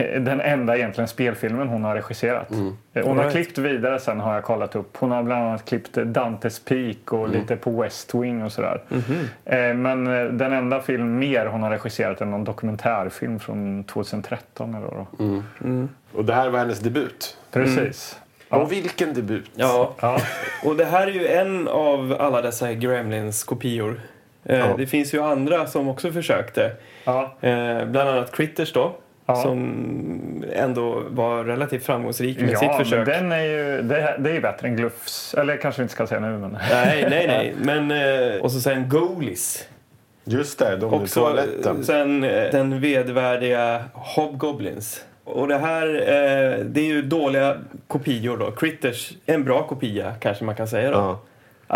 A: eh, den enda egentligen spelfilmen hon har regisserat.
C: Mm.
A: Eh, Hon har
B: Alright.
A: klippt vidare sen har jag kollat upp. Hon har bland annat klippt Dantes Peak
C: Mm.
A: och lite på West Wing och sådär.
B: Mhm.
A: Eh, Men eh, den enda film mer hon har regisserat är någon dokumentärfilm från 2013 eller vad
C: Mm.
A: då.
C: Och det här var hennes debut.
A: Precis.
C: Och vilken debut!
B: Mm. Ja.
A: Ja.
B: Och det här är ju en av alla dessa Gremlins-kopior. Eh, Det finns ju andra som också försökte.
A: Ja.
B: Eh, bland annat Critters då.
A: Ja.
B: Som ändå var relativt framgångsrik med
A: Ja,
B: sitt
A: men
B: försök.
A: den är ju, det, det är ju bättre än Glufs. Eller kanske vi inte ska säga nu, men...
B: Nej, nej, nej. Men, eh, och så sen Goalies.
C: Just det, de i
B: Och så,
C: toaletten.
B: sen eh, den vedervärdiga Hobgoblins. Och det här, eh, det är ju dåliga kopior då. Critters, en bra kopia kanske man kan säga då.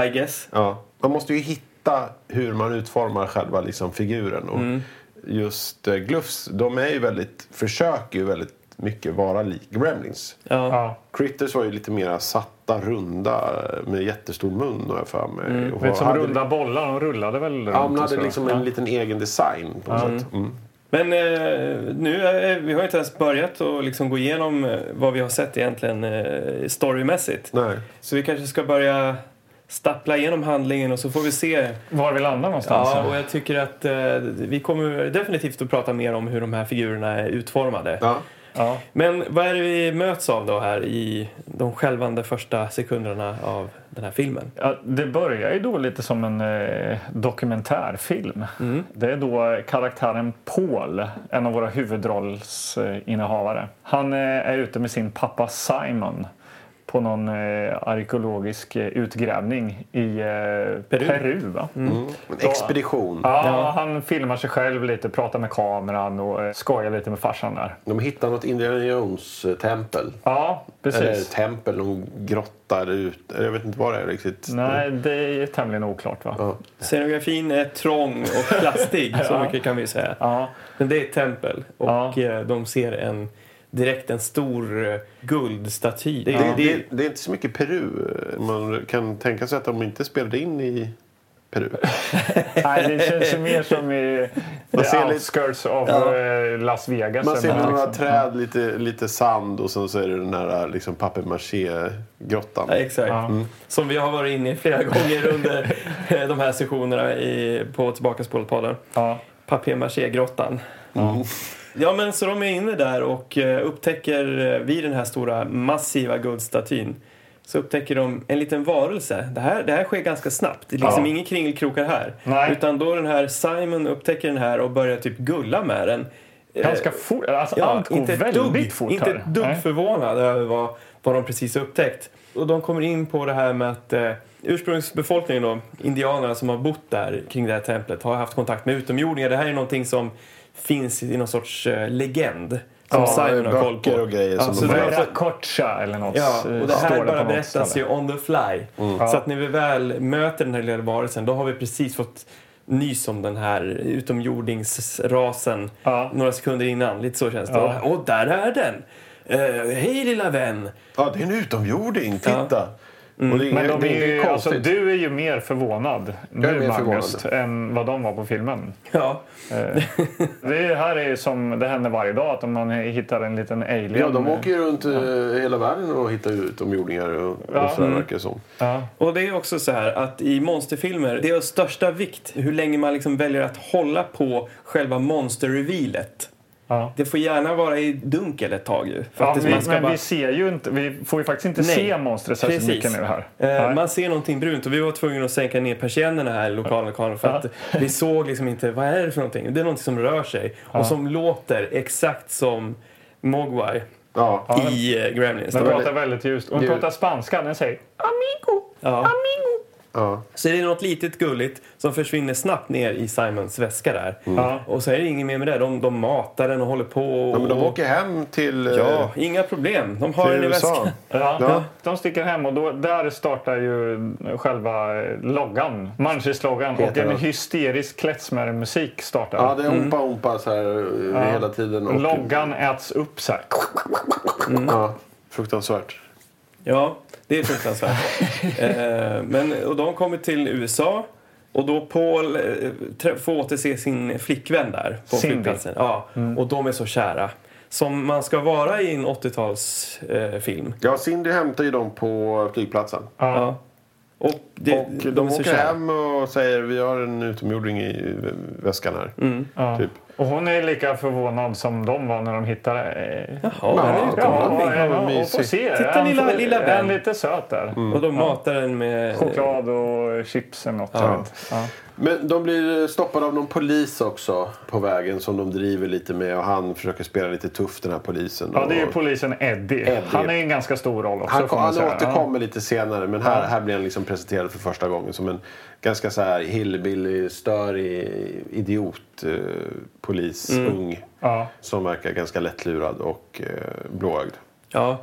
B: I guess.
C: Ja. Man måste ju hitta hur man utformar själva liksom, figuren. Och
A: Mm.
C: Just eh, Glufs, de är ju väldigt, försöker ju väldigt mycket vara lik Gremlins.
A: Ja.
C: Critters var ju lite mer satta, runda, med jättestor mun har jag för mig. Och
A: Det är Mm. som
C: hade-
A: runda bollar, de rullade väl runt
C: Ja, men
A: och
C: hade
A: så.
C: liksom en liten egen design på något sätt. Mm.
B: Men eh, nu, eh, vi har inte ens börjat att liksom gå igenom eh, vad vi har sett egentligen eh, storymässigt.
C: Nej.
B: Så vi kanske ska börja stappla igenom handlingen och så får vi se. Alltså.
A: Var vi landar någonstans.
B: Ja, och jag tycker att eh, vi kommer definitivt att prata mer om hur de här figurerna är utformade.
C: Ja.
A: Ja.
B: Men vad är det vi möts av då här i de skälvande första sekunderna av den här filmen?
A: Ja, det börjar ju då lite som en eh, dokumentärfilm. Det är då karaktären Paul, en av våra huvudrollsinnehavare. Han eh, är ute med sin pappa Simon på någon eh, arkeologisk eh, utgrävning i eh, Peru. va?
C: En expedition.
A: Ja, Han filmar sig själv lite, pratar med kameran och eh, skojar lite med farsan där.
C: De hittar något Indiana Jones-tempel.
A: Ja,
C: Eller
A: precis.
C: tempel, någon grotta eller ut. Jag vet inte vad det är riktigt.
A: Nej, det är tämligen oklart va?
C: Ja.
B: Scenografin är trång och plastig, så mycket kan vi säga.
A: Ja.
B: Men det är ett tempel och eh, de ser en, direkt en stor eh, guldstaty. Det,
C: Det,
B: det,
C: det, det är inte så mycket Peru. Man kan tänka sig att de inte spelade in i Peru.
A: Nej, det känns ju mer som i
C: Man ser
A: the
C: lite-
A: outskirts of eh, Las Vegas.
C: Man
A: eller
C: ser
A: något
C: några
A: liksom.
C: träd, lite, lite sand och sen så är det den här liksom, papier-maché-grottan.
B: Ja, exakt.
A: Ja.
B: Som vi har varit inne i flera gånger under eh, de här sessionerna i, på Tillbaka podden
A: Ja.
B: Papier-maché-grottan. Ja, men så de är inne där och eh, upptäcker eh, vid den här stora massiva guldstatyn så upptäcker de en liten varelse. Det här, det här sker ganska snabbt. Det är liksom ingen kringelkrokar här.
A: Nej.
B: Utan då den här Simon upptäcker den här och börjar typ gulla med den. Eh,
A: Ganska fort. Alltså,
B: Ja,
A: allt går
B: inte ett
A: väldigt
B: dugg,
A: fort
B: Inte
A: här.
B: ett dugg
A: Nej.
B: förvånad över vad, vad de precis har upptäckt. Och de kommer in på det här med att eh, ursprungsbefolkningen, då, indianerna som har bott där kring det här templet, har haft kontakt med utomjordingar. Det här är någonting som finns i någon sorts eh, legend. Som
A: Ja,
B: Simon har koll på.
C: böcker och grejer som
B: så
C: de
B: det
C: har
B: är
A: Vera
B: alltså-
A: Kocha eller något.
B: Ja,
A: eh,
B: och det
A: står
B: här
A: på Mm.
B: bara
A: något
B: berättas
A: ställe.
B: ju on the fly. Så att när vi väl möter den här lilla varelsen, då har vi precis fått nys om den här utomjordingsrasen
A: Ja.
B: några sekunder innan. Lite så känns det.
A: Ja.
B: Och, och där är den! Eh, Hej lilla vän!
C: Ja, det är en utomjording, titta! Och det,
A: Men
C: det,
A: de
C: det
A: är
C: är
A: ju, alltså,
C: konstigt.
A: du är ju mer förvånad nu,
C: är mer
A: Magnus,
C: förvånad.
A: än vad de var på filmen.
B: Ja.
A: Det är- här är ju som det händer varje dag, att om man hittar en liten alien.
C: Ja, de åker ju runt eh, hela världen och hittar utomjordingar och, och sådär verkar det som.
A: Ja.
B: Och det är också så här att i monsterfilmer, det är av största vikt hur länge man liksom väljer att hålla på själva monsterrevealet.
A: Ja.
B: Det får gärna vara i dunkel ett tag ju. För
A: Ja,
B: att det-
A: vi,
B: man ska
A: men
B: bara-
A: vi ser ju inte, vi får ju faktiskt inte
B: Nej.
A: se monstret särskilt
B: Precis.
A: mycket nu här.
B: Eh,
A: Nej.
B: man ser någonting brunt och vi var tvungna att sänka ner persiennerna här i lokallokalen för att vi såg liksom inte, vad är det för någonting? Det är någonting som rör sig och som låter exakt som Mogwai
C: Ja.
B: i eh, Gremlins.
A: Den
B: då.
A: pratar väldigt ljust. Och Hon
C: Ljud.
A: pratar spanska. Den säger amigo,
B: Ja.
A: amigo.
C: Ja.
B: Så är det något litet gulligt som försvinner snabbt ner i Simons väska där.
A: Ja.
B: Och så är det inget mer med det. De, de matar den och håller på. Och,
C: Mm. ja, men de åker hem till... eh,
B: Mm. Ja, inga problem. De har
C: Till
B: den i
C: USA.
B: väskan.
A: Ja.
C: Ja.
A: De sticker hem och då, där startar ju själva eh, loggan, Munchies loggan. Och
C: Heter
A: en
C: den.
A: hysterisk klättsmärmusik startar.
C: Ja, det är ompa ompa så här eh, hela tiden. Och,
A: Loggan äts upp så här.
C: Ja, fruktansvärt.
B: Ja, det är fruktansvärt. eh, men, och de kommer till USA. Och då Paul eh, trä- får återse sin flickvän där på
A: Cindy. Mm.
B: flygplatsen. Ja, Och de är så kära. Som man ska vara i en 80-talsfilm. Eh, film.
C: Ja, Cindy hämtar ju dem på flygplatsen.
B: ja. Och, det,
C: Och de,
B: är så
C: åker
B: kära.
C: hem och säger vi har en utomjording i väskan här.
A: Mm. Ja.
C: Typ.
A: Och hon är lika förvånad som de var när de hittade... eh,
B: Jaha, där är
C: Ja,
B: det
A: Ja,
B: utomlanding.
A: ja, ja,
C: vad
A: och får
C: mysigt.
A: se.
B: Titta,
A: Han
B: lilla-
A: får-
B: lilla
A: är
B: vän.
A: lite söt där.
C: Mm.
B: Och de matar den med...
A: Choklad och chips eller något. jag vet. Ja.
C: Men de blir stoppade av någon polis också på vägen som de driver lite med och han försöker spela lite tuff den här polisen.
A: Ja, det är ju
C: Och
A: polisen Eddie.
C: Eddie.
A: Han är ju en ganska stor roll också.
C: han
A: får
C: kom,
A: man
C: han
A: säga.
C: återkommer lite senare men här, här blir han liksom presenterad för första gången som en ganska så här hillbilly, störig idiot eh, polis,
A: Mm.
C: ung.
A: Ja.
C: Som verkar ganska lättlurad och eh, blåögd.
B: Ja.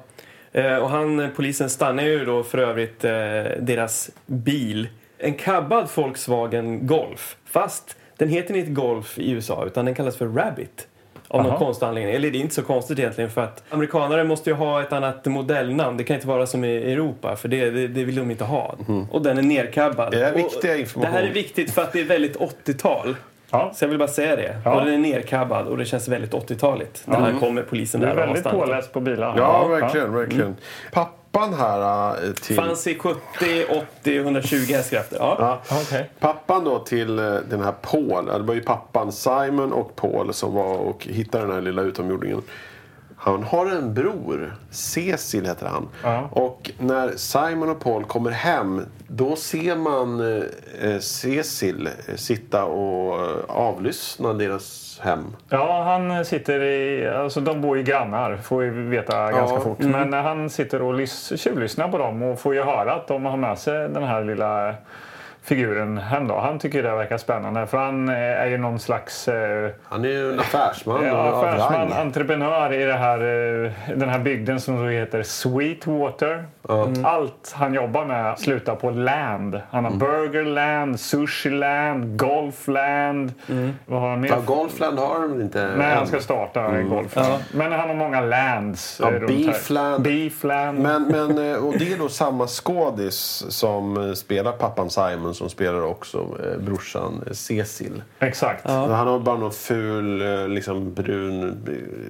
B: Eh, och han, eh, polisen stannar ju då för övrigt eh, deras bil. En kabbad Volkswagen Golf. Fast den heter inte Golf i USA utan den kallas för Rabbit. Av någon konstig anledning. Eller det är inte så konstigt egentligen för att amerikanare måste ju ha ett annat modellnamn. Det kan inte vara som i Europa för det, det, det vill de inte ha. Och den är nerkabbad.
C: Mhm. Det här är
B: Och
C: viktiga information.
B: Det här är viktigt för att det är väldigt 80-tal.
A: Ja.
B: Så jag vill bara säga det.
A: Ja.
B: Och den är nerkabbad och det känns väldigt 80-taligt. När här kommer polisen
A: Du
B: där
A: är
B: och har
A: väldigt
B: stannat dem.
A: påläst på bilar.
C: Ja, verkligen.
A: Mm.
C: verkligen. Pappan här eh, till...
B: Fanns i 70, 80, 120 hästkrafter. Ja.
A: Ja, okej.
C: Pappan då till eh, den här Paul, ja, det var ju pappan Simon och Paul som var och hittade den här lilla utomjordingen. Han har en bror, Cecil heter han.
A: Ja.
C: Och när Simon och Paul kommer hem, då ser man eh, Cecil eh, sitta och eh, avlyssna deras hem.
A: Ja, han sitter i... Alltså, de bor ju grannar, får vi veta ganska fort. Men när han sitter och lys- tjuvlyssnar på dem och får ju höra att de har med sig den här lilla figuren hem. Då. Han tycker det verkar spännande för han eh, är ju någon slags eh,
C: Han är ju en affärsman
A: ja,
C: och av
A: affärsman,
C: rang.
A: entreprenör i det här, eh, den här bygden som då heter Sweetwater. Mm. Allt han jobbar med slutar på land. Han har burgerland, sushiland, golfland. Vad har han mer?
C: Ja, Golfland har de inte
A: Nej,
C: än.
A: han ska starta golf. Men han har många lands.
C: Mm. Ja,
A: eh, runt här.
C: beefland.
A: Beefland.
C: Men, men, eh, och det är då samma skådis som eh, spelar pappan Simon som spelar också eh, brorsan eh, Cecil.
A: Exakt.
C: Han har bara någon ful, eh, liksom brun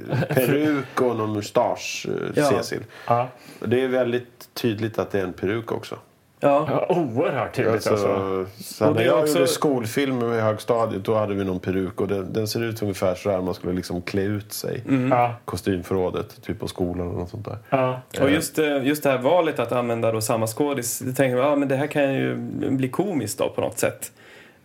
C: eh, peruk och någon mustasch, eh,
B: Ja.
C: Cecil.
A: Ja.
C: Det är väldigt tydligt att det är en peruk också.
B: Ja.
A: Oerhört tydligt
C: Alltså,
A: alltså.
C: så här,
B: Och det
C: när
B: är
C: jag
B: också-
C: gjorde skolfilm i högstadiet då hade vi någon peruk och den, den ser ut ungefär så här man skulle liksom klä ut sig.
B: Mm.
A: Ja.
C: Kostymförrådet, typ på skolan eller något sånt där.
A: Ja.
B: Och just, eh, just det här valet att använda då samma skådis, det tänker man, ah, men det här kan ju bli komiskt då på något sätt.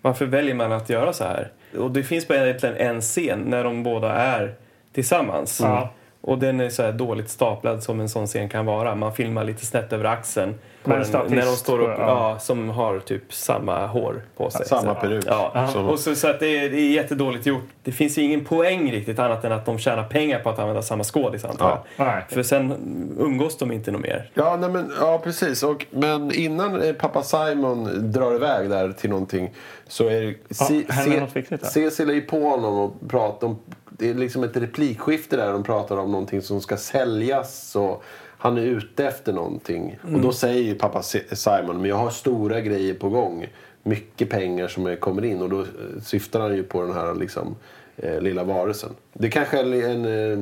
B: Varför väljer man att göra så här? Och det finns bara egentligen en scen när de båda är tillsammans.
A: Ja.
B: Och den är så här dåligt staplad som en sån scen kan vara. Man filmar lite snett över axeln. på
A: Men
B: den-
A: statist,
B: när de står upp,
A: tror jag, ja.
B: ja, som har typ samma hår på sig.
C: Samma
B: Så-
C: peruk.
B: Ja.
C: Som-
B: Och så, så att det, är, det är jättedåligt gjort. Det finns ju ingen poäng riktigt annat än att de tjänar pengar på att använda samma skådis antar jag.
A: Ja. Nej.
B: För sen umgås de inte nog mer.
C: Ja, nej men, ja precis. Och, men innan eh, pappa Simon drar iväg där till någonting så är det-
A: händer något viktigt där.
C: Cecil är ju på honom och pratar om det är liksom ett replikskifte där de pratar om någonting som ska säljas och han är ute efter någonting. Och
A: Mm.
C: då säger ju pappa Si- Simon, men jag har stora grejer på gång. Mycket pengar som eh, kommer in. Och då eh, syftar han ju på den här liksom, eh, lilla varelsen. Det kanske är en... Eh,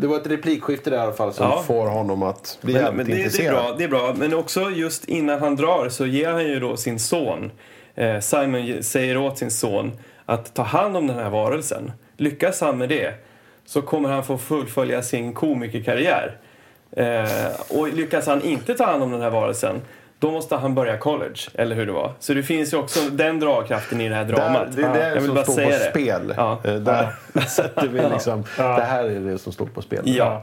C: det var ett replikskifte där i alla fall som
B: Ja.
C: får honom att bli
B: Men,
C: jävligt
B: men det, det, är
C: intresserad.
B: bra, det är bra, men också just innan han drar så ger han ju då sin son, eh, Simon ge- säger åt sin son att ta hand om den här varelsen. Lyckas han med det så kommer han få fullfölja sin komikerkarriär. Eh, och lyckas han inte ta hand om den här varelsen då måste han börja college, eller hur det var. Så det finns ju också den dragkraften i det här
C: Där,
B: dramat.
C: det är det
B: Jag vill
C: som
B: bara
C: står på
B: säga det.
C: spel.
B: Ja.
C: Eh, Där sätter vi liksom... Det här är det som står på spel.
B: Ja.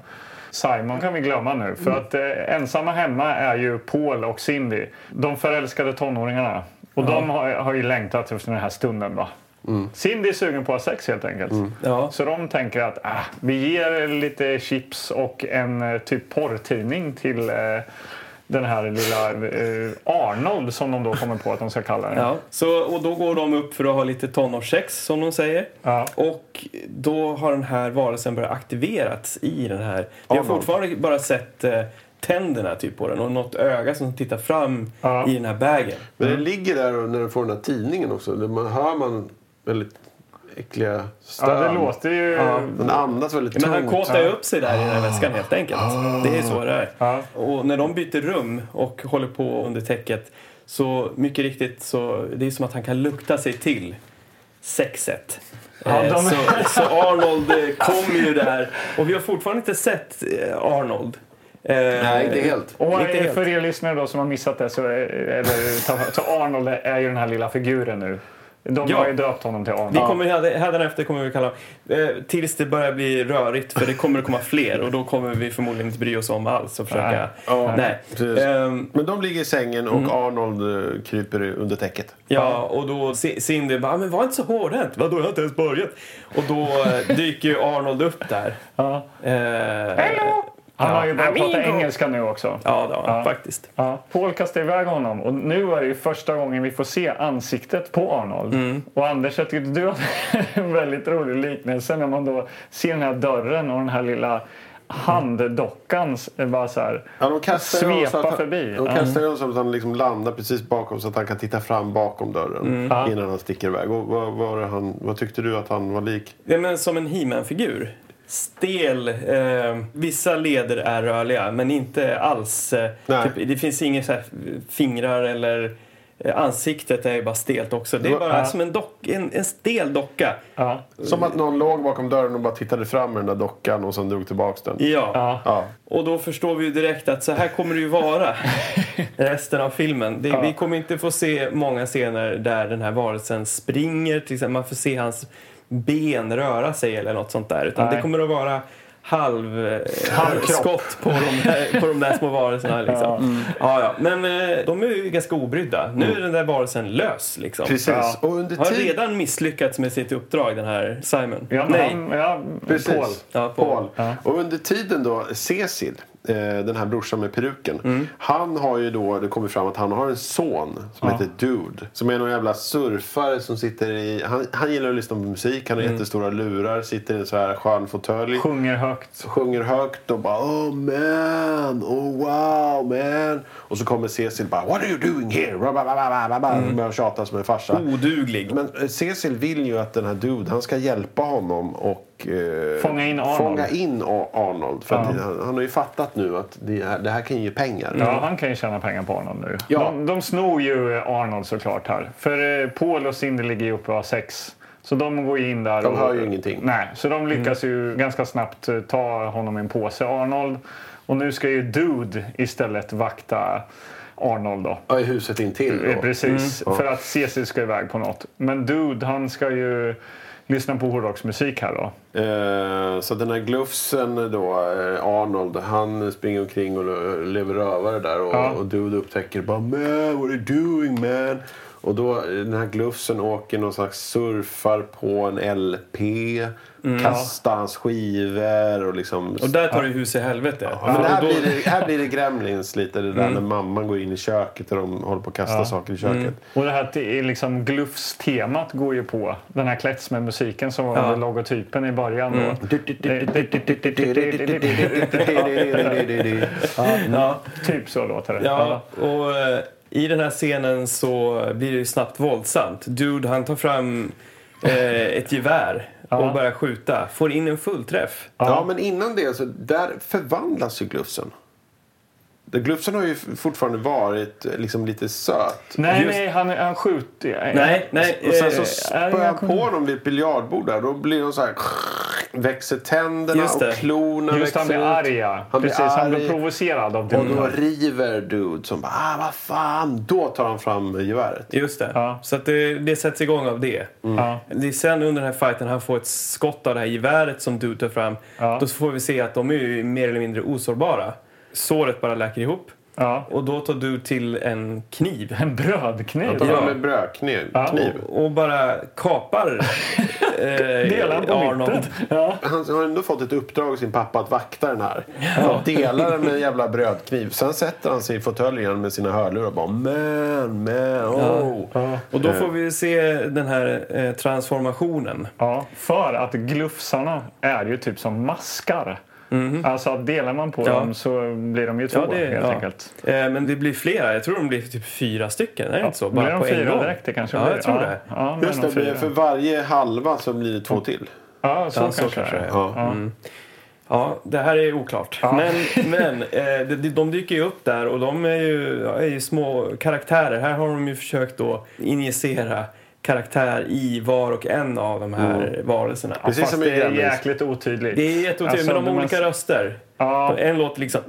A: Simon kan vi glömma nu. För
C: Mm.
A: att eh, ensamma hemma är ju Paul och Cindy. De förälskade tonåringarna. Och de har, har ju längtat efter den här stunden. Va?
C: Mm.
A: Cindy är sugen på att ha sex helt enkelt.
B: Ja.
A: Så de tänker att ah, vi ger lite chips och en eh, typ porrtidning till eh, den här lilla eh, Arnold som de då kommer på att de ska kalla den.
B: Ja, så, och då går de upp för att ha lite tonårssex som de säger.
A: Ja.
B: Och då har den här varelsen börjat aktiverats i den här. Vi har
C: Arnold.
B: fortfarande bara sett eh, tänderna typ på den och något öga som tittar fram
A: Ja.
B: i den här bagen.
C: Men den ligger där och när den får den här tidningen också. det- Man hör man väldigt äckliga stön.
A: Ja, det låter ju...
C: Den andas väldigt
B: Men han
C: tungt.
B: kåtar ju upp sig där i den här väskan helt enkelt.
A: Ah.
B: Det är så det är.
A: Ja.
B: Och när de byter rum och håller på under täcket så mycket riktigt så det är som att han kan lukta sig till sexet.
A: Ja,
B: Eh,
A: de-
B: så, så Arnold eh, kommer ju där och vi har fortfarande inte sett eh, Arnold. Eh,
C: Nej, inte helt.
A: Och
B: Inte
A: eh,
B: helt.
A: för er lyssnare då som har missat det så, är- eller, så Arnold är ju den här lilla figuren nu. De
B: Ja.
A: har ju döpt honom till Arnold.
B: Vi kommer, hädanefter kommer vi kalla eh, tills det börjar bli rörigt för det kommer att komma fler och då kommer vi förmodligen inte bry oss om alls och försöka...
C: Ja,
B: Nej.
C: precis.
B: Ehm,
C: Men de ligger i sängen och Arnold eh, kryper under täcket.
B: Ja, och då C- Cindy bara, "Ah, men var inte så hårdhänt. Vadå, jag har inte ens börjat. Och då eh, dyker ju Arnold upp där.
A: Ja.
B: Eh,
A: Hello! Han har ju börjat prata
B: Amigo.
A: engelska nu också.
B: Ja, då,
A: Ja.
B: faktiskt.
A: Ja, Paul kastar iväg honom och nu är det ju första gången vi får se ansiktet på Arnold. Och Anders, jag tyckte du hade en väldigt rolig liknelse när man då ser den här dörren och den här lilla handdockan s- bara så här.
C: Ja, de kastar ju honom så
A: Svepa
C: att han,
A: förbi.
C: De kastar ju honom så att han liksom landar precis bakom så att han kan titta fram bakom dörren
A: Ja.
C: innan han sticker iväg. Och vad, vad, var det han, vad tyckte du att han var lik?
B: Ja, men som en He-Man-figur. Stel. Eh, vissa leder är rörliga, men inte alls. Eh,
C: Nej.
B: typ, det finns inga så här fingrar eller... eh, Ansiktet är ju bara stelt också. Det är
C: Ja.
B: bara som en, dock, en, en stel docka.
A: Ja,
C: Som att någon låg bakom dörren och bara tittade fram med den där dockan och sen drog tillbaks den.
B: Ja.
A: ja.
C: Ja.
B: Och då förstår vi ju direkt att så här kommer det ju vara resten av filmen. Det, Vi kommer inte få se många scener där den här varelsen springer. Till exempel, man får se hans ben röra sig eller något sånt där. Utan
A: Nej.
B: det kommer att vara halv, eh,
A: Halvkropp.
B: skott på de, där, på de där små varelserna. Liksom. Ja. Ja, Men eh, de är ju ganska obrydda. Nu är den där varelsen lös. Liksom.
C: Precis. Och under
B: Har
C: tiden-
B: redan misslyckats med sitt uppdrag, den här Simon.
A: Ja, men
B: Nej.
A: han, ja,
C: Precis.
A: Paul.
B: Ja, Paul.
C: Paul. Och under tiden då, Cecil, eh, den här brorsan med peruken.
B: Mm.
C: Han har ju då, det kommer fram att han har en son som heter Dude. Som är någon jävla surfare som sitter i, han, han gillar att lyssna på musik, han har
B: Mm.
C: jättestora lurar, sitter i en så här skön fåtölj.
A: Sjunger högt.
C: Sjunger högt och bara oh man, oh wow man. Och så kommer Cecil bara what are you doing here? Mm. Börjar tjata som en farsa.
A: Oh.
B: Oduglig.
C: Men eh, Cecil vill ju att den här dude, han ska hjälpa honom och eh,
A: Fånga in Arnold.
C: fånga in A- Arnold. För att han, han har ju fattat nu att det här, det här kan ge pengar.
A: Ja, han kan ju tjäna pengar på honom nu.
C: Ja.
A: De, de snor ju Arnold såklart här. För eh, Paul och Cindy ligger ju uppe och har sex. Så de går ju in där.
C: De
A: och,
C: hör ju ingenting.
A: Nej, så de lyckas ju ganska snabbt eh, ta honom i en påse, Arnold. Och nu ska ju Dude istället vakta Arnold då.
C: Ja, i huset intill.
A: Eh,
C: Då. Mm.
A: Precis, för att Cecil ska iväg på något. Men Dude, han ska ju lyssna på hårdrocksmusik här då.
C: Eh, så den här glufsen då, eh, Arnold, han springer omkring och lever rövare där. Och,
A: Ja.
C: och dude upptäcker bara man, what are you doing man? Och då eh, den här glufsen åker någon slags surfar på en LP. Kastar hans skivor och liksom...
B: Och där tar det hus i helvete.
C: Ja, men
B: För
C: här,
B: då-
C: blir det, här blir det Gremlins lite. Det där när mamman går in i köket och de håller på att kasta saker i köket.
A: Och det här te- liksom glufstemat går ju på den här klätts med musiken som var under logotypen i början. Då.
B: ja.
A: Typ så låter det.
B: Ja, och eh, i den här scenen så blir det ju snabbt våldsamt. Dude, han tar fram eh, ett gevär och börjar skjuta. Får in en fullträff.
C: Ja, men innan det så där förvandlas ju glufsen. Det- Glufsen har ju fortfarande varit eh, liksom lite söt.
A: Nej,
B: Just-
A: nej, han, han skjuter.
B: Nej, nej.
C: Och sen
B: eh,
C: så spöar jag på honom vid ett biljardbord där. Då blir de så här... Växer tänderna
B: Just det.
C: och klorna
A: Just han
C: växer
A: blir
C: ut.
A: arg, ja.
C: Han blir
A: Precis, han
C: arg.
A: blir provocerad av
C: Och
A: det.
C: då river Dude som bara ah, vad fan. Då tar han fram geväret.
B: Just det.
A: Ja. Mm.
B: Så att det, det sätts igång av det.
A: Ja.
B: Det är sen under den här fighten han får ett skott av det här geväret som du tar fram.
A: Ja.
B: Då får vi se att de är ju mer eller mindre osårbara. Såret bara läker ihop.
A: Ja.
B: Och då tar du till en kniv.
A: En brödkniv.
C: Tar
B: Ja.
C: fram en brödkniv. Kniv.
B: Och bara kapar eh,
A: Delar han på mitten. Ja.
C: Han har ändå fått ett uppdrag av sin pappa att vakta den här. Han delar den med en jävla brödkniv. Sen sätter han sig i fåtöljen med sina hörlurar och bara man, man, oh.
B: Och då
A: Eh.
B: får vi se den här eh, transformationen.
A: Ja, för att glufsarna är ju typ som maskar. Alltså att delar man på
B: Ja.
A: dem så blir de ju två helt enkelt.
B: Eh, Men det blir flera. Jag tror de blir typ fyra stycken. Är det inte så?
A: blir de
B: på en
A: fyra
B: gång.
A: direkt? Det kanske
B: Ja,
A: blir.
B: jag tror det.
A: Ja,
C: Eh, Just det,
A: blir
C: men för varje halva så blir det två till.
A: Ja, så
B: Ja,
A: kanske, det är.
C: Ja.
B: Ja, det här är oklart. Men, men eh, de, de dyker ju upp där och de är ju, ja, är ju små karaktärer. Här har de ju försökt då injicera karaktär i var och en av de här
A: Mm.
B: varelserna.
C: Precis
A: Fast
C: som i
A: det är
C: Gremlins.
A: jäkligt otydligt.
B: Det är jätteotur,
A: Alltså,
B: men de har
A: man-
B: olika röster.
A: Ja.
B: En låter liksom...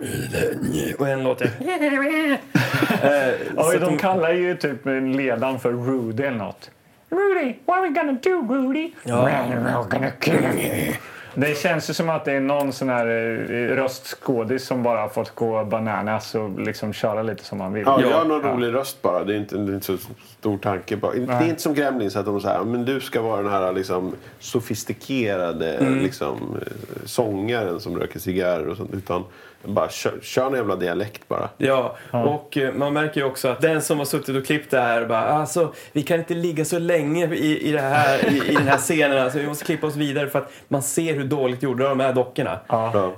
B: Och en låter...
A: Eh, Ja,
B: Så
A: de,
B: att de-
A: kallar ju typ ledaren för Rudy eller något. Rudy, what are we gonna do Rudy? Well, we're gonna kill you. Det känns ju som att det är någon sån här eh, röstskådis som bara har fått gå bananas och liksom köra lite som man vill.
C: Ja, jag har någon rolig röst bara. Det är inte, det är inte så stor tanke. Bara. Det är inte som Gremlins att de säger men du ska vara den här liksom, sofistikerade liksom, eh, sångaren som röker cigarrer och sånt. Utan bara kör, kör en jävla dialekt bara.
B: Ja, och eh, man märker ju också att den som har suttit och klippt det här bara alltså, vi kan inte ligga så länge i, i, det här, i, i den här scenen. Alltså, vi måste klippa oss vidare för att man ser hur dåligt gjorda de är dockorna.
C: Ja.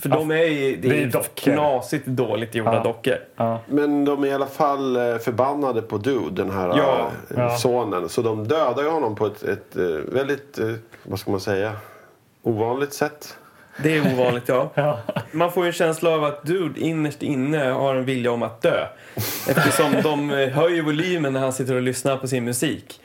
B: För de är ju
A: Det
B: det är
A: är
B: ju
A: dockor.
B: knasigt dåligt gjorda dockor.
C: Men de är i alla fall eh, förbannade på Dude, den här
B: Ja.
C: eh, sonen. Så de dödar ju honom på ett, ett eh, väldigt, eh, vad ska man säga, ovanligt sätt.
B: Det är ovanligt, ja. Man får ju en känsla av att dude innerst inne har en vilja om att dö. Eftersom de eh, höjer volymen när han sitter och lyssnar på sin musik.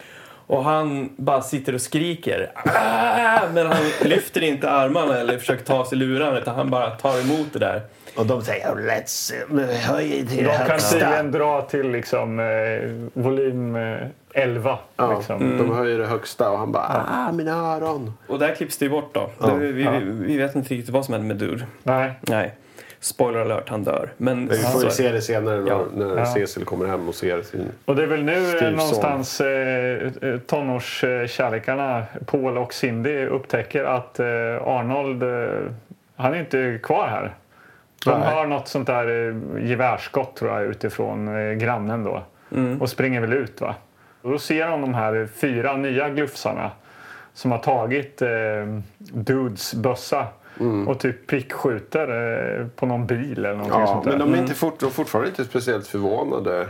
B: Och han bara sitter och skriker. "Ah!" Men han lyfter inte armarna eller försöker ta sig luran utan han bara tar emot det där.
C: Och de säger oh, let's eh, höj till det
A: De kan
C: högsta.
A: tydligen dra till liksom, eh, volym eh, 11.
C: Ja, Mm.
A: Liksom.
C: De höjer det högsta och han bara ah, mina öron.
B: Och där klipps det ju bort då. Vi, vi, vi vet inte riktigt vad som händer med dude.
A: Nej.
B: Nej. Spoiler alert, han dör. Men alltså,
C: Vi får
B: så-
C: ju se det senare när,
B: Ja.
C: när Cecil kommer hem och ser sin...
A: Och det är väl nu eh,
C: Styvson.
A: någonstans eh, eh, tonårskärlekarna Paul och Cindy upptäcker att eh, Arnold, eh, han är inte kvar här. De
C: Nej.
A: har något sånt där eh, gevärsskott tror jag utifrån eh, grannen då
C: Mm.
A: och springer väl ut va. Och då ser de de här fyra nya glufsarna som har tagit eh, Dudes bössa och typ prickskjuter eh, på någon bil eller någonting
C: Mm. Ja,
A: sånt där.
C: men de är inte fort, de är fortfarande inte speciellt förvånade.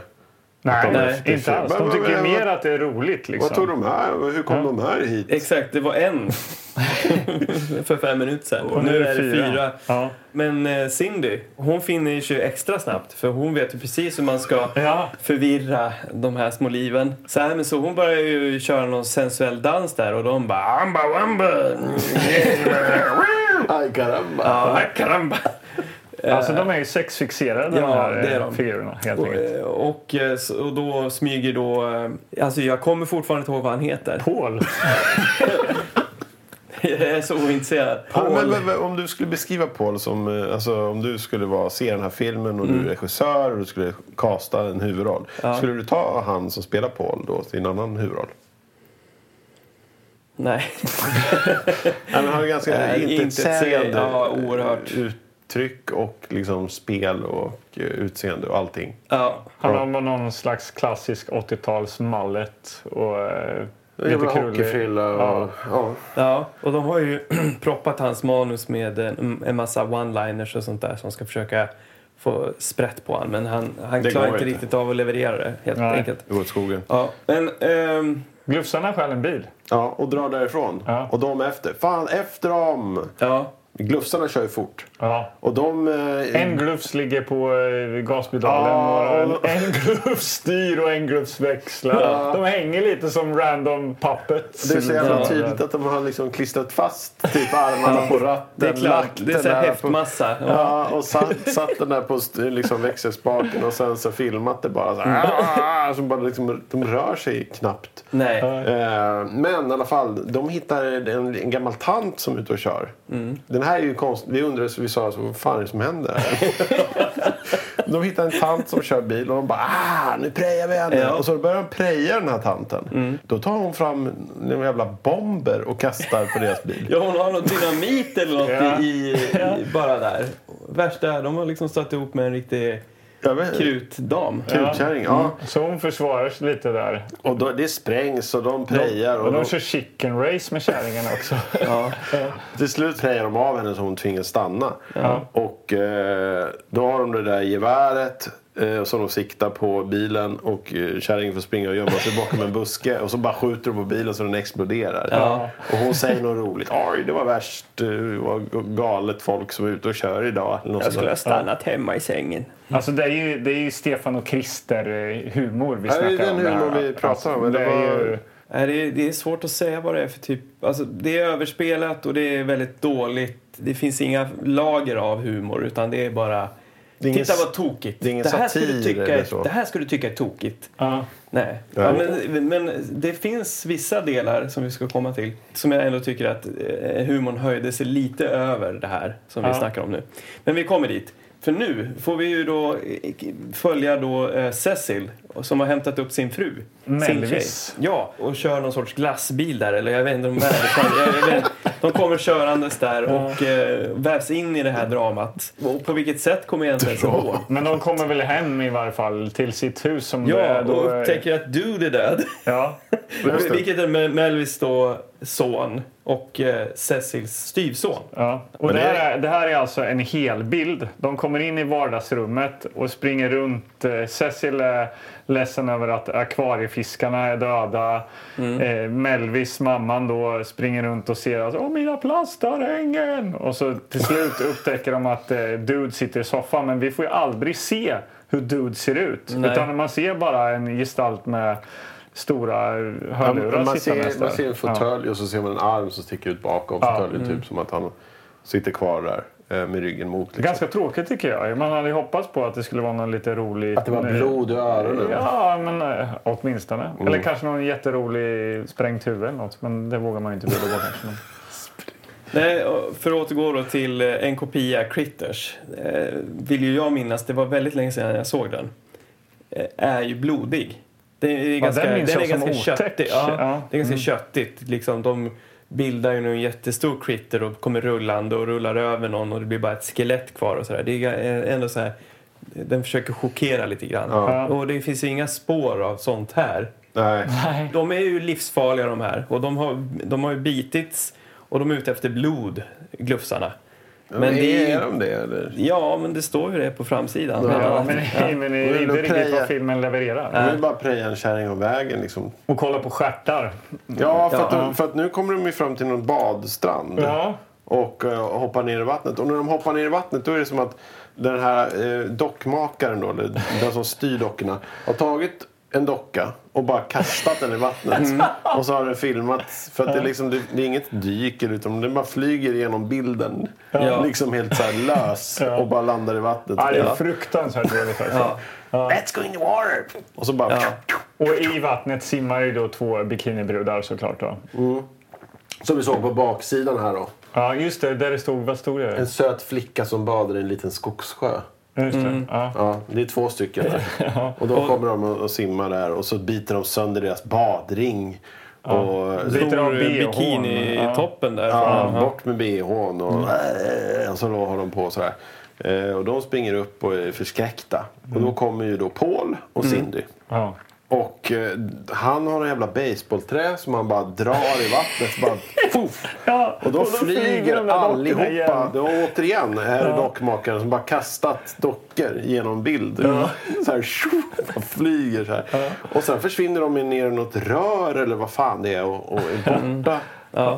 A: Nej,
C: de är
A: nej,
C: efterföljda.
A: inte alls. De
C: Men-
A: tycker
C: men-
A: mer att det är roligt liksom.
C: Vad tog de här? Hur kom de här hit?
B: Exakt, det var en för fem minuter sedan. Och nu är det fyra.
A: Ja.
B: Men eh, Cindy, hon finner sig ju extra snabbt för hon vet ju precis hur man ska
A: Ja.
B: förvirra de här små liven. Så, här, men så hon börjar ju köra någon sensuell dans där och de bara amba wamba. mm." Eh,
C: Aj, caramba.
B: Ja, Karamba.
A: Alltså de är ju sexfixerade de
B: Ja,
A: här
B: det är
A: eh,
B: de.
A: figurerna helt enkelt.
B: Eh, Och, eh, s- och då smyger då... eh, Alltså jag kommer fortfarande inte ihåg vad han heter.
A: Paul.
B: Jag är så ointresserad.
C: Ja, men, men, men, om du skulle beskriva Paul som... eh, Alltså, om du skulle vara, se den här filmen och du är regissör och du skulle kasta en huvudroll. Skulle du ta han som spelar Paul då till en annan huvudroll?
B: Nej.
C: Nej, men han har ju ganska
B: Nej,
C: intetsägande
B: intetsägande. Ja, oerhört.
C: Eh, uttryck och liksom spel och eh, utseende och allting.
B: Ja.
A: Han har bara någon slags klassisk 80-tals mallet och eh, lite
I: Jävla
A: krullig.
I: hockeyfrilla och... Ja.
B: Ja, och de har ju proppat hans manus med en, en massa one-liners och sånt där som ska försöka få sprätt på honom. Men han, han
C: Det
B: klarar
C: går
B: inte
C: inte.
B: riktigt av att leverera det, helt
A: Nej.
B: enkelt.
C: Det går åt skogen.
B: Ja, men... ehm,
A: Glufsarna stjäl en bil.
C: Ja, och drar därifrån.
A: Ja.
C: Och de efter. Fan, efter dem!
B: ja.
C: Glufsarna kör ju fort.
A: Ja.
C: Och de... eh,
A: En glufs ligger på eh, gaspedalen
C: Ja,
A: och
C: och-
A: en, en glufs styr och en glufs växlar. De hänger lite som random puppets.
C: Det är så jävla
B: Ja.
C: tydligt att de har liksom klistrat fast typ armarna på ratten.
B: Det är klart,
C: lagt
B: det är
C: den
B: så här
C: där på-
B: häftmassa. Ja.
C: Ja, och satt, satt den där på st- liksom växelspaken och sen så filmat det bara. Så här, så bara liksom, de rör sig knappt.
B: Mm. Nej.
C: Eh, Men i alla fall, de hittar en, en gammal tant som är ute och kör.
A: Mm.
C: Den här är ju konstig. Vi undrade, så vi sa alltså, vad fan är det som händer? här?" de hittar en tant som kör bil och de bara ah, nu prejar vi henne.
B: Ja.
C: Och så börjar de preja den här tanten.
A: Mm.
C: Då tar hon fram en jävla bomber och kastar på deras bil.
B: Ja, hon har någon dynamit eller något
A: Ja.
B: i, i, bara där. Värsta, de har liksom satt ihop med en riktig
C: Jag vet-
B: krutdam.
C: Krutkärring, ja.
A: Så hon försvarar sig lite där.
C: Och då, det sprängs och de prejar.
A: och
C: Och
A: de
C: då,
A: kör chicken race med kärringarna också.
C: till slut prejar de av henne så hon tvingas stanna. Och eh, då har de det där geväret eh, som de siktar på bilen. Och eh, kärringen får springa och gömma sig bakom en buske. Och så bara skjuter de på bilen så den exploderar.
B: Ja.
C: Och hon säger något roligt. Oj, det var värst. eh, Det var galet folk som är ute och kör idag. Eller något
B: Jag
C: sånt
B: skulle
C: där.
B: ha stannat hemma i sängen.
A: Alltså det är ju, det är ju Stefan och Christer-humor vi
C: det är
A: snackar
C: den
A: om. det här.
C: humor vi pratar om, men
A: det
C: det
A: är
C: var-
A: ju,
B: Nej, Det är, det är svårt att säga vad det är för typ... Alltså, det är överspelat och det är väldigt dåligt. Det finns inga lager av humor utan det är bara...
C: är ingen
B: Titta
C: s-
B: vad tokigt.
C: det är ingen
B: här ska du
C: satir
B: tycka
C: eller
B: är-
C: så."
B: det här ska du tycka är tokigt.
A: ja.
B: Nej. Ja, men, men det finns vissa delar som vi ska komma till som jag ändå tycker att eh, humorn höjde sig lite över det här som vi
A: Ja.
B: snackar om nu. Men vi kommer dit. För nu får vi ju då eh, följa då eh, Cecil som har hämtat upp sin fru. Sin tjej.
A: Melvis.
B: Ja, och kör någon sorts glassbil där eller jag vet inte om de är. Jag, jag vet, de kommer körandes där och eh, vävs in i det här dramat. Och på vilket sätt kommer jag inte ens ihåg.
A: Men de kommer väl hem i varje fall till sitt hus som det
B: Ja,
A: är
B: och
A: då... eh,
B: upptäcker att Dude är död.
A: Ja.
C: Just det.
B: Vilket är Mel- Melvis då son och eh, Cecils styvson.
A: Ja. Och
C: Men
A: det,
C: det-
A: här är, det här är alltså en helbild. De kommer in i vardagsrummet och springer runt. Eh, Cecil är ledsen över att akvariefiskarna är döda.
C: Mm.
A: Eh, Melvis, mamman, då springer runt och ser att Åh, mina plastarhängen! Och så till slut upptäcker de att eh, Dude sitter i soffan. Men vi får ju aldrig se hur Dude ser ut.
B: Nej.
A: Utan man ser bara en gestalt med stora hörlurar
C: Man
A: sittandes
C: ser,
A: där.
C: man ser en fåtölj och så ser man en arm som sticker ut bakom fåtöljen.
A: Mm.
C: Typ som att han sitter kvar där eh, med ryggen mot. Liksom.
A: Ganska tråkigt tycker jag. Man hade ju hoppats på att det skulle vara någon lite rolig... eh,
C: Att det var blod i öronen.
A: Ja, men eh, åtminstone. Eller kanske någon jätterolig sprängt huvud eller något. Men det vågar man ju inte bjuda på kanske. Men-
B: Nej, och för att återgå då till eh, en kopia, Critters, eh, vill ju jag minnas, det var väldigt länge sedan jag såg den, eh, är ju blodig. Det är ganska,
A: den minns
B: den är
A: jag som
B: ganska
A: otäck.
B: köttig. Ja,
A: Ja. Mm.
B: Det är ganska köttigt. Liksom, de bildar ju nu en jättestor Critter och kommer rullande och rullar över någon och det blir bara ett skelett kvar och sådär. Det är ga- eh, ändå så här, den försöker chockera lite grann. Och det finns ju inga spår av sånt här.
C: Nej.
B: De är ju livsfarliga de här och de har, de har ju bitits och de är ute efter blod, glufsarna. Men det
C: är
B: är
C: de det eller?
B: Ja, men det står ju det på framsidan.
A: Ja, men, men det är
C: vill
A: inte
C: du
A: riktigt
C: preja?
A: vad filmen levererar.
C: De vill bara preja en kärring om vägen liksom.
A: Och kolla på stjärtar.
C: Ja, för, att,
B: Ja.
C: de- för att nu kommer de ju fram till någon badstrand.
A: Ja.
C: Och eh, hoppar ner i vattnet. Och när de hoppar ner i vattnet då är det som att den här eh, dockmakaren då, eller den som styr dockorna, har tagit en docka och bara kastat den i vattnet. Och så har den filmats. För att det, är liksom, det, det är inget dyk utan den bara flyger genom bilden.
B: Ja.
C: Liksom helt så här lös och bara landar i vattnet.
A: Ja, det är
C: Ja.
A: fruktansvärt dåligt alltså. faktiskt.
B: Ja.
C: Let's go in the water! Och så bara...
B: Ja.
A: Och i vattnet simmar ju då två bikinibrudar såklart. Då.
C: Som vi såg på baksidan här då.
A: Ja, just det. Där det stod, vad stod det?
C: En söt flicka som badar i en liten skogssjö.
A: Just det. Ja.
C: Ja, det är två stycken. Och då kommer de och och simmar där och så biter de sönder deras badring. Och
A: Biter av
B: Stor
A: BH.
B: bikini-toppen där.
C: Ja,
B: från- ja.
C: bort med bhn och, äh, och så då har de på sådär. Eh, Och de springer upp och är förskräckta. Och då kommer ju då Paul och Cindy.
A: Ja.
C: Och eh, han har en jävla baseballträ som han bara drar i vattnet. Bara, fuff.
A: Ja,
C: Och då, flyger
A: de där dockorna
C: allihopa.
A: igen.
C: Då, återigen är det dockmakaren som bara kastat dockor genom bild. Så här, tjo, de flyger så här. Och sen försvinner de ner i något rör eller vad fan det är och, och är
A: Mm.
C: borta.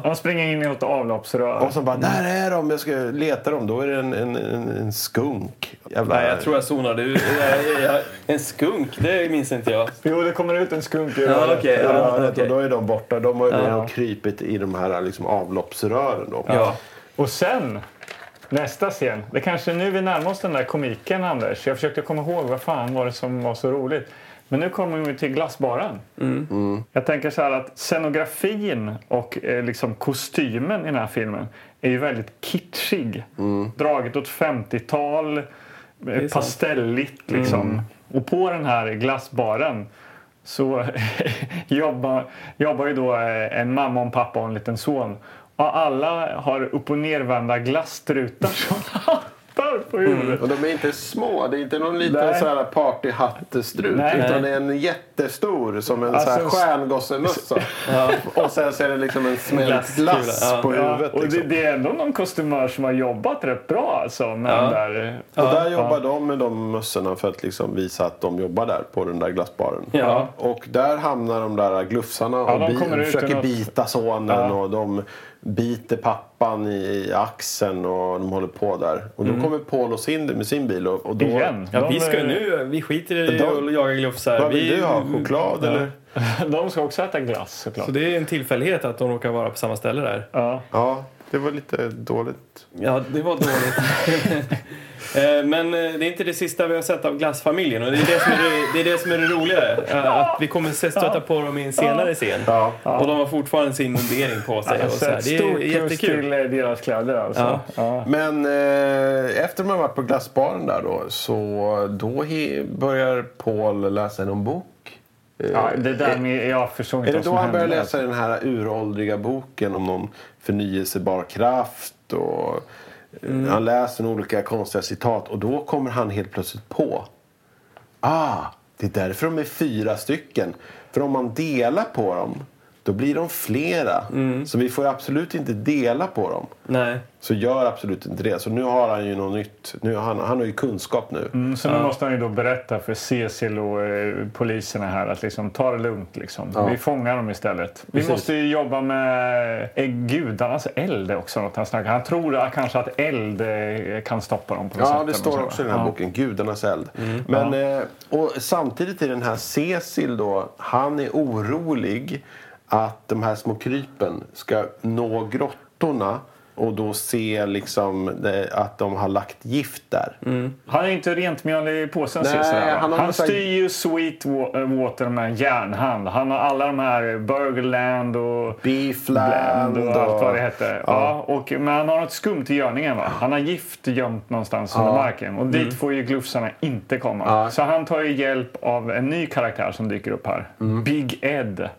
A: De springer in i något avloppsrör.
C: Och så bara, där är de, jag ska leta dem. Då är det en, en, en, en skunk. Jävla...
B: Nej, jag tror jag zonade ut. Jag- jag- En skunk, det minns inte jag.
A: Jo, det kommer ut en skunk i
B: Ja,
A: röret.
B: okej.
C: Ja,
B: ja,
C: rätt.
B: okej.
C: Och då är de borta. De har ju redan krypit i de här liksom, avloppsrören. Då.
B: Ja.
A: Och sen, nästa scen. Det kanske är nu vi närmar oss den där komiken, Anders. Jag försökte komma ihåg vad fan var det som var så roligt. Men nu kommer vi till glassbaren. Jag tänker så här att scenografin och eh, liksom kostymen i den här filmen är ju väldigt kitschig. Draget åt 50-tal, eh,
B: sant.
A: pastelligt liksom. Och på den här glassbaren så jobbar, jobbar ju då eh, en mamma och en pappa och en liten son. Och alla har upp och nervända glasstrutar som hattar på huvudet.
C: Och de är inte små. Det är inte någon liten
A: Nej.
C: så här partyhattestrut.
A: Nej.
C: Utan det är en jättestor som en så här
A: Alltså,
C: stjärngossemössa. Och sen så är det liksom en smält
B: Glasskula,
C: glass
B: ja.
C: på
A: Ja,
C: huvudet.
A: och det,
C: liksom.
A: det är ändå någon kostymör som har jobbat rätt bra alltså med den där...
C: Och där jobbar de med de mössorna för att liksom visa att de jobbar där på den där glassbaren.
B: Ja.
C: Och där hamnar de där glufsarna och
A: de
C: bi-
A: kommer ut
C: försöker
A: ur något-
C: bita sonen och de biter pappan i, i axeln och de håller på där. Och då kommer Paul och Cindy med sin bil och, och då...
A: Mm. Igen.
B: Ja, vi
A: De-
B: ska nu, vi skiter i
C: De-
B: att jaga glufsar.
C: Vad vill
B: Vi-
C: du ha? Choklad eller?
A: De ska också äta glass såklart.
B: Så det är en tillfällighet att de råkar vara på samma ställe där.
A: ja.
C: Ja, det var lite dåligt.
B: Ja, det var dåligt. Eh, Men eh, det är inte det sista vi har sett av glassfamiljen och det är det som är det, det, är det, som är det roliga. eh, Att vi kommer se- stöta på dem i en senare scen.
C: Ja.
B: Och de har fortfarande sin mundering på sig. Och
A: Alltså,
B: så här.
A: ett
B: Det
A: stort
B: är
A: plus
B: jättekul.
A: till eh, deras kläder alltså.
B: Ja.
A: Ja.
C: Men eh, efter man varit på glassbaren där då så då he, börjar Paul läsa någon bok. Eh,
A: Ja, det där med, jag förstår
C: Är
A: inte
C: det
A: vad
C: då
A: som
C: han börjar
A: hände.
C: läsa den här uråldriga boken om någon förnyelsebar kraft? Och, eh,
A: Mm.
C: Han läser olika konstiga citat och då kommer han helt plötsligt på. Ah, det är därför de är fyra stycken. För om man delar på dem, då blir de flera.
A: Mm.
C: Så vi får absolut inte dela på dem.
B: Nej.
C: Så gör absolut inte det. Så nu har han ju något nytt. Nu, han, han har ju kunskap nu.
A: Mm, Så nu måste han ju då berätta för Cecil och eh, poliserna här att liksom, ta det lugnt. Liksom. Vi fångar dem istället. Vi måste ju jobba med eh, gudarnas eld också. Något han, snackar. han tror att- kanske att eld eh, kan stoppa dem. på något sätt,
C: Ja, det
A: eller
C: står
A: så.
C: också i den här
A: Ja.
C: boken. Gudarnas eld. Men, eh, och samtidigt i den här Cecil då. Han är orolig att de här små krypen ska nå grottorna och då se liksom eh, att de har lagt gift där.
A: Han är inte rent mjöl i påsen
C: Nej,
A: Cecil. här, va?
C: han har
A: Han
C: någon sån här-
A: styr ju Sweetwater med en järnhand. Han har alla de här Burgerland och...
C: Beefland
A: Bland och allt vad det
C: och-
A: hette. Ja. och, men han har något skumt i görningen. Va? Han har gift gömt någonstans under marken. Och dit får ju glufsarna inte komma. Så han tar ju hjälp av en ny karaktär som dyker upp här. Big Ed.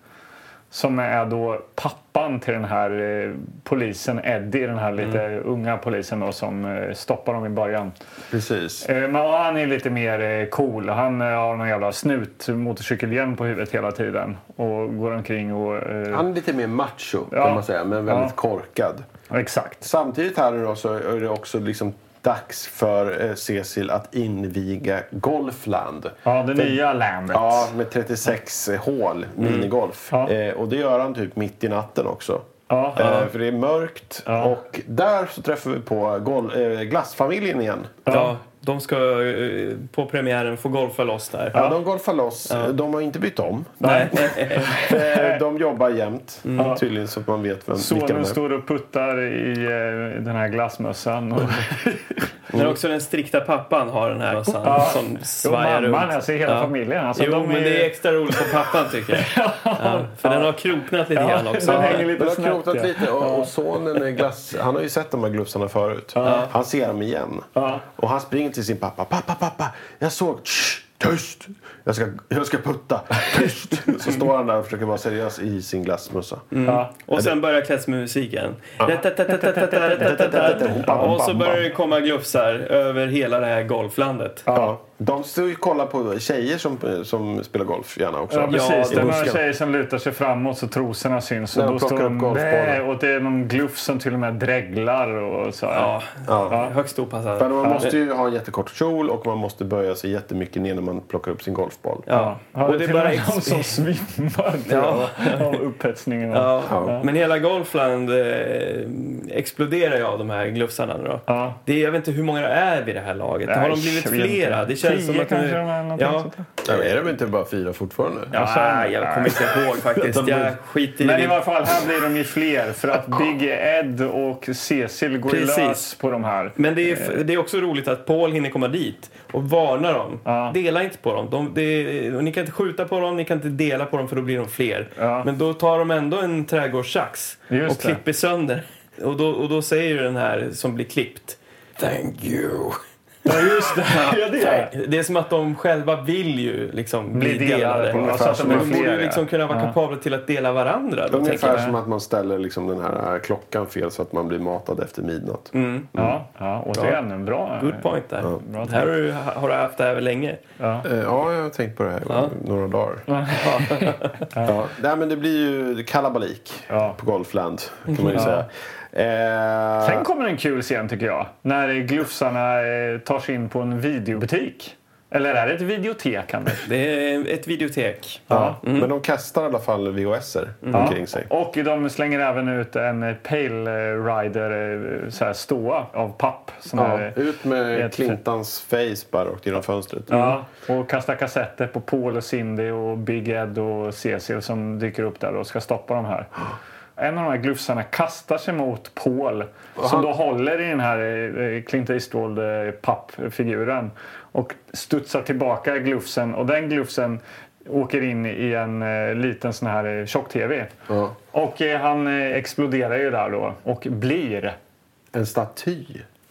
A: Som är då pappan till den här eh, polisen Eddie. Den här lite unga polisen då, som eh, stoppar dem i början.
C: Precis.
A: Eh, Men ja, han är lite mer eh, cool. Han eh, har någon jävla snut motorcykelhjälm på huvudet hela tiden. Och går omkring och... eh,
C: Han är lite mer macho kan
A: Ja.
C: man säga, men väldigt
A: Ja.
C: korkad.
A: Exakt.
C: Samtidigt här nu då så är det också liksom dags för eh, Cecil att inviga Golfland.
A: Ja, det nya landet.
C: Ja, med 36 hål minigolf.
A: Mm. Ja.
C: Eh, och det gör han typ mitt i natten också.
A: Ja.
C: Eh, för det är mörkt.
A: Ja.
C: Och där så träffar vi på gol- eh, glassfamiljen igen.
B: Ja. de ska eh, på premiären få golfa loss där.
C: Ja. De golfar loss. De har inte bytt om.
B: Nej.
C: Eh, de jobbar jämt.
A: Mm.
C: Tydligen så att man vet vem, vilka de
A: Sonen
C: är.
A: står och puttar i eh, den här glassmössan. Och
B: Men också den strikta pappan har den här massan som
A: Jo,
B: svajar
A: mamman,
B: runt.
A: alltså hela
B: Ja.
A: familjen. Alltså,
B: jo,
A: de är
B: men det
A: ju-
B: är extra roligt för pappan tycker jag. Ja, för den har kroknat lite grann också.
A: de hänger
C: Men
A: lite
C: det har
A: snett.
C: krokat
A: ja.
C: lite och, och sonen är glass... Han har ju sett de här glufsarna förut. Han ser dem igen. Och han springer till sin pappa. Pappa, pappa! Jag såg... Shh, tyst! Jag ska, jag ska putta. Tyst! Så står han där och försöker vara seriös i sin glassmössa.
A: Ja.
B: Och sen börjar klassmusiken. Och så börjar det komma glufsar över hela det här golflandet.
C: Ja. De står ju och kollar på tjejer som, som spelar golf gärna också.
A: Ja, precis.
B: i
A: det är några
C: busken.
A: tjejer som lutar sig framåt så trosorna syns. Och
C: När de
A: då
C: plockar
A: står
C: upp
A: de
C: golfbollen.
A: där och det är någon gluff som till och med dreglar. Och så här.
B: Ja,
C: Ja.
B: högst
C: Men
B: opassande.
C: man måste ju ha en jättekort kjol och man måste böja sig jättemycket ner när man plockar upp sin golfboll.
B: Ja.
A: Ja,
B: Och det är
A: till och
B: bara
A: med de som svimmar tror jag, av upphetsningen.
B: Ja.
C: Ja.
B: Men hela Golfland eh, exploderar ju av de här glufsarna nu då.
A: Ja.
B: Det är, jag vet inte hur många det är vid det här laget. har de
A: Nej,
B: blivit
A: jag vet
B: flera?
A: inte.
B: Det känns
A: Tio
B: som att
A: kanske
B: nu...
A: de är någonting
B: ja.
A: sånt där.
C: Ja, men är de inte bara fyra fortfarande?
B: ja, jag kommer inte ihåg faktiskt. Jag skiter i
A: Men i
B: det.
A: varje fall, här blir de ju fler för att Big Ed och Cecil går
B: Precis.
A: Precis. lös på de här.
B: Men det
A: Eh.
B: är, det är också roligt att Paul hinner komma dit och varna dem.
A: Ja.
B: Dela inte på dem. De, det är- och ni kan inte skjuta på dem, ni kan inte dela på dem för då blir de fler.
A: Ja.
B: Men då tar de ändå en trädgårdssax
A: Just
B: och
A: det.
B: klipper sönder. Och då, och då säger ju den här som blir klippt Thank you.
A: Ja, just det. ja, det är.
B: Det är som att de själva vill ju liksom bli
A: Bli
B: delade.
A: delade på något
B: Alltså,
A: sätt.
B: men de
A: Fler,
B: borde ju
A: ja.
B: liksom kunna vara
A: Ja.
B: kapabla till att dela varandra. Då, tänker
C: Ungefär
B: jag.
C: som att man ställer liksom den här klockan fel så att man blir matad efter midnatt.
A: Ja, ja, återigen en bra...
B: Good point där.
A: Bra
B: här har du, har du haft det här väl länge.
C: Eh, Ja, jag har tänkt på det här några dagar. Ja. Nej, men det blir ju kalabalik
A: Ja.
C: på Golfland, kan man ju säga. Eh,
A: Sen kommer en kul scen tycker jag. När glufsarna eh, tar sig in på en videobutik. Eller är det ett videotek, Anders?
B: Det är ett videotek.
C: ja. Mm. Men de kastar i alla fall VHS-er omkring sig.
A: Och de slänger även ut en eh, Pale Rider eh, så här, ståa av papp. Som
C: Ja,
A: Mm. är,
C: ut med
A: Jättefint.
C: Clintans face bara rakt genom fönstret.
A: ja, och kastar kassetter på Paul och Cindy och Big Ed och Cecil som dyker upp där och ska stoppa de här. En av de här glufsarna kastar sig mot Paul som då håller i den här eh, Clint Eastwood eh, pappfiguren och studsar tillbaka glufsen och den glufsen åker in i en eh, liten sån här eh, tjock-tv. Och eh, han eh, exploderar ju där då och blir
C: En staty.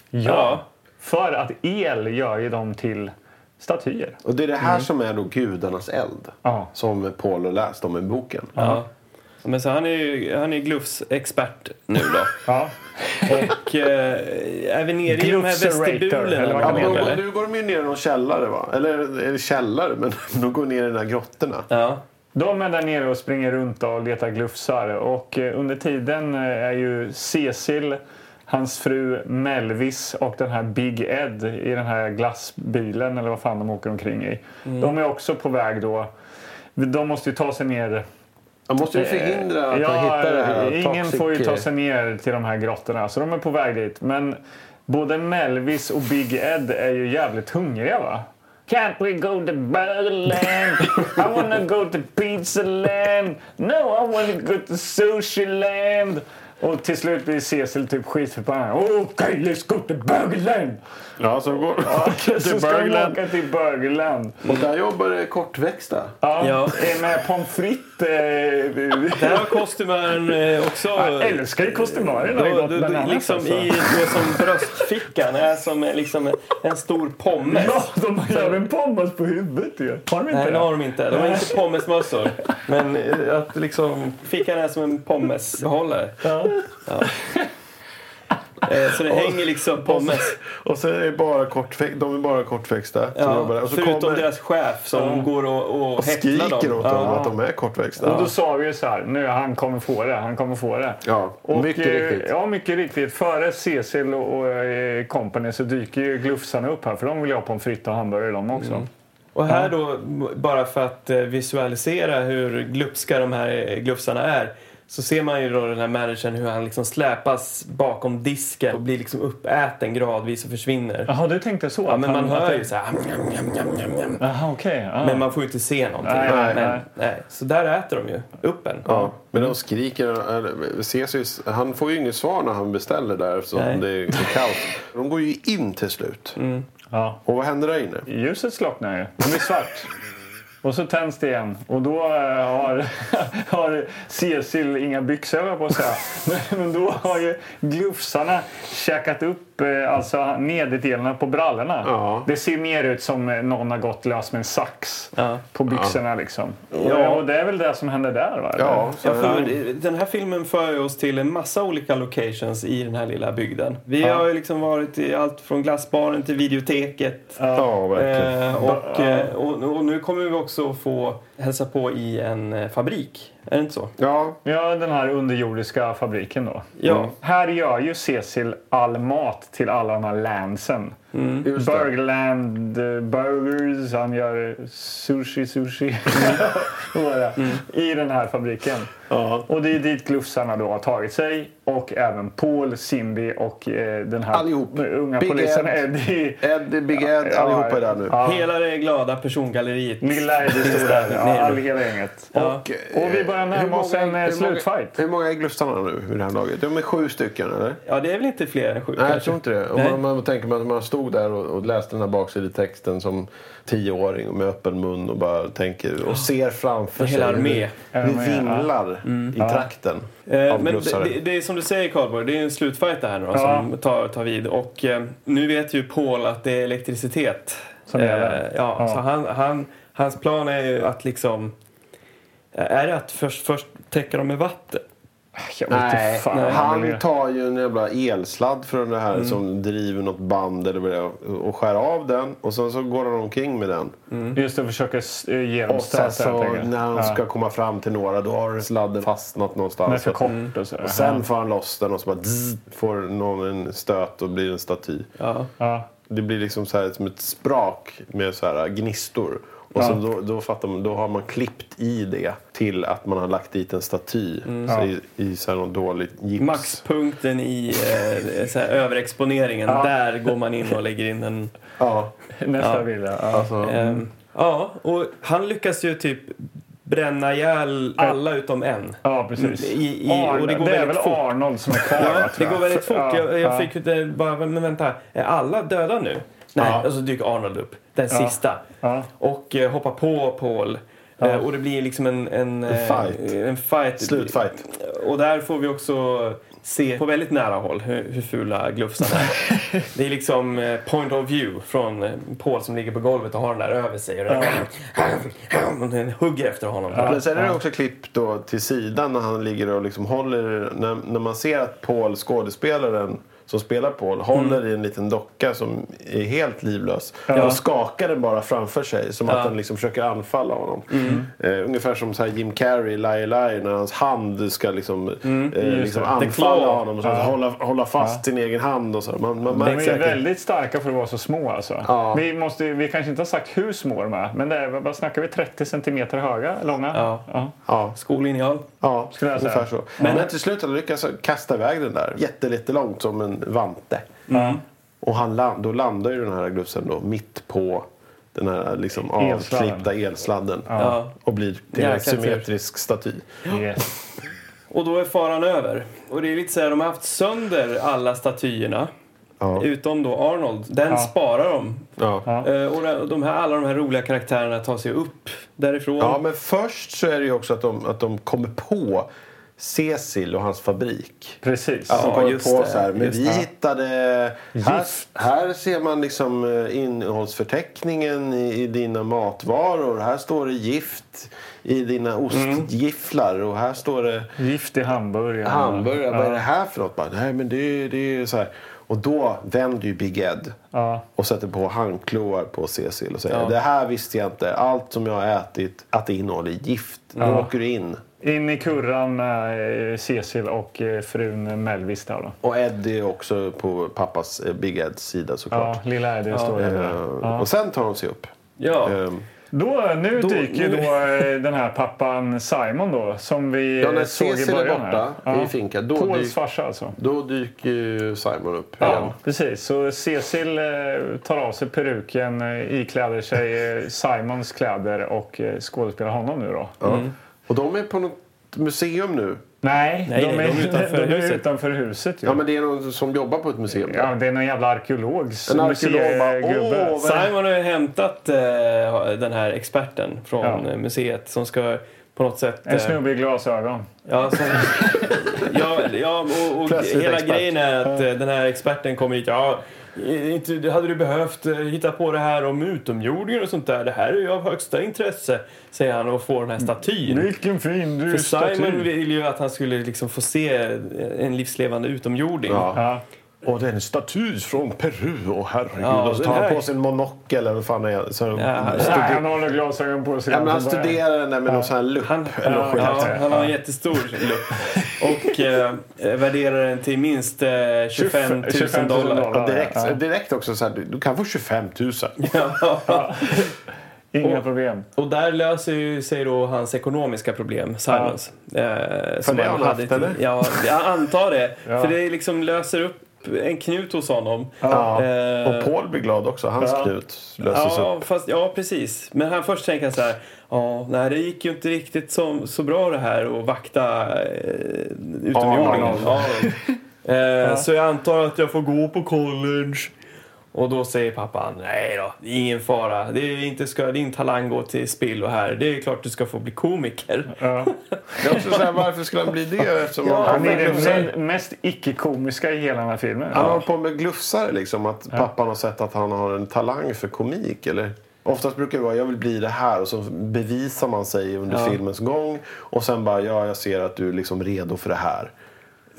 A: Ja. För att el gör ju dem till statyer.
C: Och det är det här som är då gudarnas eld.
A: Ja.
C: Som Paul har läst om i boken.
B: Ja. Men så han är ju han är glufsexpert nu då.
A: Ja.
B: Och eh, är vi nere i de här
A: Glufserator, eller vad
B: vestibulerna?
A: kan man
B: nu,
C: Ja,
A: heter,
C: men
B: eller?
C: nu går de ju ner i någon källare va? Eller är det källare? Men de går ner i de här grottorna.
B: Ja.
A: De är där nere och springer runt och letar glufsar. Och eh, under tiden eh, är ju Cecil, hans fru Melvis och den här Big Ed i den här glassbilen eller vad fan de åker omkring i. De är också på väg då. De måste ju ta sig ner
C: Man måste ju förhindra att han hittar det här
A: Ingen
C: toxic- eh,
A: får ju ta sig ner till de här grottorna, så de är på väg dit. Men både Melvis och Big Ed är ju jävligt hungriga va? Can't we go to Burgerland? I wanna go to pizza land. No, I wanna go to sushi land. Och till slut blir Cecil typ skitförbannad. Okej, okay, let's go to Burgerland!
C: Ja, så går
A: Så ska de åka till Burgerland.
C: Och där jobbar det kortväxta.
A: Ja,
B: Ja.
A: eh, Med pommes frites. eh,
B: Där har kostymören eh, också...
A: Jag älskar ju kostymörerna i
B: Då, då,
A: Gotland
B: då,
A: annars,
B: liksom
A: alltså.
B: i, då som bröstfickan är som eh, liksom en stor pommes.
A: Ja, de har ju även pommes på huvudet ju. Har de inte
B: Nej, det
A: det?
B: har de inte. De har inte pommesmössor. Men eh, att liksom... Fickan är som en pommesbehållare.
A: Ja.
B: Eh, Så det hänger liksom pommes.
C: Och sen är det bara kortväxta. De är bara kortväxta. som
B: Ja,
C: jobbar där. Och så
B: förutom
C: kommer
B: deras chef som går och, och
C: och skriker
B: häcklar
C: åt
B: dem.
C: dem att de är kortväxta.
A: Och då sa vi ju så här, nu han kommer få det, han kommer få det.
C: Ja,
A: och,
C: mycket
A: eh,
C: riktigt.
A: Ja, mycket riktigt. Före Cecil och, och eh, company så dyker ju glufsarna upp här för de vill ju ha pommes frites och hamburgare de också.
B: Mm. Och här då, bara för att eh, visualisera hur glupska de här eh, glufsarna är, så ser man ju då den här managern hur han liksom släpas bakom disken och blir liksom uppäten gradvis och försvinner.
A: Jaha, du tänkte så?
B: Ja,
A: att
B: men man
A: han- att
B: hör
A: det-
B: ju så här... "Njam, njam, njam, njam, njam."
A: Jaha, okej. ja.
B: Men man får ju inte se någonting.
A: Nej, nej,
B: men,
A: nej.
B: nej. Så där äter de ju upp en.
C: Ja, men de skriker. eller, Cesius, han får ju inget svar när han beställer där eftersom
B: Nej. Mm.
C: det är kaos. De går ju in till slut.
A: Ja.
C: Och vad händer där inne?
A: Ljuset slocknar ju. Det blir svart. Och så tänds det igen och då eh, har, har Cecil inga byxor höll jag på att säga. Men- Men då har ju glufsarna käkat upp eh, alltså nederdelen på brallorna.
C: Ja.
A: Det ser mer ut som eh, någon har gått lös med en sax på byxorna liksom. Ja. Och det är väl det som händer där va?
C: Ja, så
B: Ja, för den här filmen för oss till en massa olika locations i den här lilla bygden. Vi har ju liksom varit i allt från glassbaren till videoteket.
C: ja, verkligen.
B: Eh, och, eh, och, och nu kommer vi också få hälsa på i en eh, fabrik. Är det inte så?
C: Ja,
A: Ja, den här underjordiska fabriken då.
B: Ja.
A: Här gör ju Cecil all mat till alla de här landsen.
C: just det.
A: Burgerland eh, Burgers, han gör sushi, sushi. Vad var det?
C: Mm.
A: I den här fabriken. Och det är dit glufsarna då har tagit sig. Och även Paul, Simbi och eh, den här
C: Allihop.
A: unga
C: Big
A: polisen
C: Ed.
A: Eddie.
C: Ed, Big Ed,
A: Ja,
C: allihopa är där nu.
A: Ja.
B: Mm. Hela det glada persongalleriet.
A: Lilla Eddie står där. Ja,
B: Ner.
A: all, hela gänget.
B: Ja.
A: Och, och vi börjar
C: eh, Hur
A: närma oss
C: många-
A: en eh,
C: hur många-
A: slutfight.
C: Hur många är glufsarna nu vid det här laget? De är sju stycken, eller?
B: Ja, det är väl inte fler än sju
C: Nej, jag
B: kanske?
C: tror inte det. Om
B: Nej.
C: man, om man tänker man att man stod där och, och läste den här baksidetexten som tioåring och med öppen mun och bara tänker och ser framför
B: Hela
C: sig.
B: armé.
C: Vi, vi vinglar
A: Mm.
C: i trakten
B: Eh,
C: av
B: Men det,
C: glufsare.
B: det, det är som du säger Karlborg, det är en slutfight det här nu då,
A: Ja.
B: som tar, tar vid. Och eh, nu vet ju Paul att det är elektricitet. Eh,
A: Som gäller.
B: ja,
A: Ja.
B: Så han, han, hans plan är ju att liksom... eh, Är det att först, först täcka dem med vatten?
A: Jag vet
C: Nej,
A: inte Mm. fan.
C: han tar ju en jävla elsladd från det här som driver något band eller vad det är och skär av den och sen så går han omkring med den.
A: Just det, försöka s- eh, ge dem
C: Och sen
A: stöt.
C: så
A: helt enkelt.
C: när han
A: Ja.
C: ska komma fram till några då har sladden fastnat
A: Den är
C: någonstans.
A: för kort alltså. och så.
C: Och sen får han loss den och så bara zzz, får någon en stöt och blir en staty.
B: Ja.
A: Ja.
C: Det blir liksom så här, som ett sprak med så här gnistor. Och
A: Ja.
C: så då, då, fattar man, då har man klippt i det till att man har lagt dit en staty
A: Mm.
C: så i, i så här någon dålig gips.
B: Maxpunkten i eh, så här, överexponeringen, där går man in och lägger in en...
C: Ja.
A: Nästa bild, ja. ja.
B: ehm, ja, och han lyckas ju typ bränna ihjäl alla utom en.
A: Ja, precis.
B: I- i-
A: Arn-
B: och det
A: det,
B: går
A: är
B: väldigt
A: väl
B: fort.
A: Arnold som är kvar?
B: Ja,
A: va,
B: det
A: tror
B: går väldigt fort.
A: Ja,
B: Jag, jag
A: ja.
B: fick ju det bara, men vänta, är alla döda nu? Nej, och så dyker Arnold upp, den sista.
A: Ja.
B: Och eh, hoppar på Paul. Eh, och det blir liksom en... En, eh,
C: fight.
B: en fight.
C: Slutfight.
B: Och där får vi också se på väldigt nära håll hur, hur fula glufsarna är. det är liksom eh, point of view från eh, Paul som ligger på golvet och har den där över sig. Och, och den hugger efter honom.
C: Men sen är det också klipp då till sidan när han ligger och liksom håller... När, när man ser att Paul, skådespelaren som spelar Paul, håller
A: Mm.
C: i en liten docka som är helt livlös. Och skakar den bara framför sig som att den liksom försöker anfalla honom.
A: Mm.
C: Eh, ungefär som så här Jim Carrey, Lie Lie, när hans hand ska liksom, eh, liksom
A: Mm, det.
C: anfalla
B: claw.
C: honom. Så att hålla, hålla fast sin egen hand och så. Man, man
A: De är
C: märker säkert-
A: väldigt starka för att vara så små. Alltså.
C: Ja.
A: Vi, måste, ju- vi kanske inte har sagt hur små de är, men det är, vad snackar vi? 30 centimeter höga? Långa?
B: Ja.
C: Ja.
B: Skollineal.
C: Ja,
A: Skulle jag säga.
C: ungefär så. Men, till slut hade han lyckats kasta iväg den där jättelångt som en vante. Mm. Och han land, då landar ju den här glufsen då mitt på den här liksom
A: Elsladden.
C: avklippta elsladden.
B: Ja.
C: Och blir till en
B: Jäkla tur.
C: symmetrisk staty.
A: Yes.
B: Och då är faran över. Och det är lite så här, de har haft sönder alla statyerna.
C: Ja.
B: Utom då Arnold. Den sparar de.
C: Ja. Ja.
B: Eh, och de- de här, alla de här roliga karaktärerna tar sig upp därifrån.
C: men först så är det ju också att de, att de kommer på Cecil och hans fabrik.
A: Precis.
C: Att de kommer
B: just
C: på
B: det,
C: så här, men
B: just
C: vi
B: det.
C: hittade... Här, här ser man liksom eh, innehållsförteckningen i, i dina matvaror. Här står det gift i
B: Mm.
C: dina ostgifflar och här står det
A: Gift i hamburgare.
C: hamburgare. Vad är det
A: Ja.
C: här för något? Bara, Nej, men det, är- det är så här. Och då vänder ju Big Ed
A: Ja.
C: och sätter på handklovar på Cecil och säger det här visste jag inte. Allt som jag har ätit, att det innehåller gift. Nu åker du in.
A: In i kurran med eh, Cecil och eh, frun Melvis där då.
C: Och Eddie är också på pappas eh, Big Eds sida såklart.
A: Ja, lilla Eddie står ju där.
C: Eh, Och sen tar de sig upp.
B: ja.
C: Ehm,
A: Då, nu
B: Då-
A: dyker ju
B: nu-
A: då eh, den här pappan Simon då som vi
C: Ja, när
A: eh, såg i
C: Cecil är
A: början.
C: borta
A: här.
C: i finkan, då
A: Pauls
C: dyker-
A: farsa alltså.
C: Då dyker ju Simon upp igen.
A: Ja, precis. Så Cecil eh, tar av sig peruken, eh, ikläder sig eh, Simons kläder och eh, skådespelar honom nu då.
B: Mm.
C: Ja. Och de är på något museum nu.
A: Nej,
B: Nej,
A: de, är,
B: nej, de är utanför
A: de är
B: huset.
A: utanför huset. ju.
C: Ja, men det är någon som jobbar på ett museum. där.
A: Ja, det är någon jävla arkeologs
C: En arkeolog bara,
A: museigubbe.
C: "Åh, vad-
B: Simon har ju hämtat eh, den här experten från
A: Ja.
B: eh, museet som ska på något sätt... eh,
A: En snubbe i glasögon.
B: Ja, som, ja, ja och, och
C: Plötsligt
B: hela
C: expert.
B: grejen är att eh, den här experten kommer hit. Ja, i- inte, det hade du behövt eh, hitta på det här om utomjordingar och sånt där. Det här är ju av högsta intresse, säger han och får den här statyn.
A: Vilken fin du
B: För Simon ville ju att han skulle liksom få se en livslevande utomjording.
A: Ja.
C: Och det är en staty från Peru. Och herregud,
B: Ja,
C: och så
B: den
C: tar han
B: här-
C: på sig en monokel eller vad fan det är. Så
B: han-
A: Nej,
C: studer...
A: han håller glasögon på sig.
C: ja, men
A: redan
C: han
A: från början.
C: studerar den där med någon sån här lupp.
B: Han,
C: eller något skit.
B: ja, han har en
A: Ja.
B: jättestor lupp. Och eh, värderar den till minst eh, 25 000
A: 25 000
B: dollar.
A: dollar.
C: Ja, direkt, direkt också så här, du, du kan få 25 000.
B: Ja.
A: Inga
B: Och-
A: problem.
B: Och där löser ju sig då hans ekonomiska problem, Simons. Eh, som
C: det har han haft,
B: inte-
C: eller?
B: Ja, jag antar det.
A: Ja.
B: För det liksom löser upp en knut hos honom.
C: Ja.
B: Eh,
C: Och Paul blir glad också. Hans knut löses upp.
B: Ja, fast, ja, precis. Men han först tänker han så här. Ja, nej, det gick ju inte riktigt så, så bra det här att vakta eh, utomjordingen. Ja. Eh, Så jag antar att jag får gå på college. Och då säger pappan, nej då, det är ingen fara. Det är inte ska din talang gå till spillo här. Det är klart du ska få bli komiker.
A: Ja.
C: Det är också så här, varför skulle han bli det? Eftersom
A: Han är
C: verkligen-
A: den me- mest icke-komiska i hela den här filmen.
C: Han håller på med glufsare liksom. Att pappan har sett att han har en talang för komik eller? Oftast brukar det vara jag vill bli det här och så bevisar man sig under filmens gång. Och sen bara ja, jag ser att du är liksom redo för det här.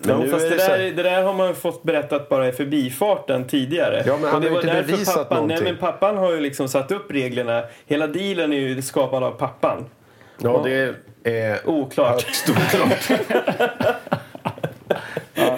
C: Men
B: Men
C: nu
B: fast
C: är
B: det,
C: det, så
B: där,
C: här,
B: det där har man fått berättat bara i förbifarten tidigare.
C: Ja, men han
B: Och det
C: har ju
B: var
C: inte
B: därför
C: bevisat
B: pappan, Nej,
C: någonting.
B: men pappan har ju liksom satt upp reglerna. Hela dealen är ju skapad av pappan.
C: Ja, det är...
B: Oklart.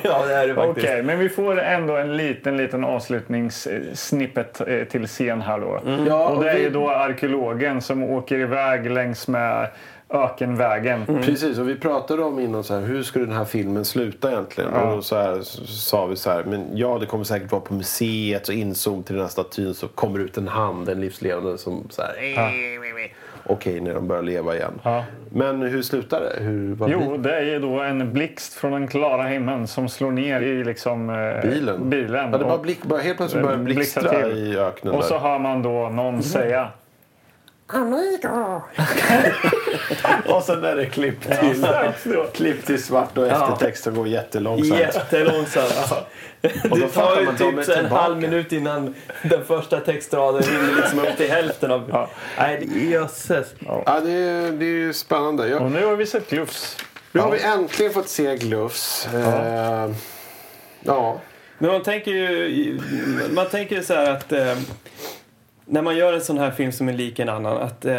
B: ja, det är det
A: Okej, men vi får ändå en liten, liten avslutningssnippet eh, till scen här då.
C: Ja,
A: Och det är
C: vi-
A: ju då arkeologen som åker iväg längs med ökenvägen.
C: Precis, och vi pratade om innan så här, hur skulle den här filmen sluta egentligen? Och då så här, så sa vi så här, men ja det kommer säkert vara på museet och inzoom till den här statyn så kommer ut en hand, en livslevande som så här, "Eh, okej när de börjar leva igen.
A: Ja.
C: Men hur slutar det? Hur, vad
A: Jo,
C: blir-
A: det är ju då en blixt från den klara himlen som slår ner i liksom, eh,
C: bilen?
A: bilen.
C: Ja, det bara
A: Och-
C: blick, bara helt plötsligt börjar
A: blixtra
C: blixtra
A: till.
C: i öknen
A: Och så
C: där.
A: hör man då någon säga
C: Och sen är det klipp till, klipp till svart och eftertexten går jättelångsamt.
B: Jättelångsamt.
C: Och då
B: Det tar
C: fattar
B: ju
C: man,
B: typ
C: de är
B: en
C: tillbaka.
B: halv minut innan den första textraden hinner liksom upp till hälften av... Nej, det- jösses.
C: Ja, det är, det är ju spännande. Jag,
A: Och nu har vi sett Glufs.
C: Nu har vi äntligen fått se Glufs. Ja. Eh, ja.
B: Men man tänker ju, man tänker ju så här att eh, när man gör en sån här film som är lik en annan att eh,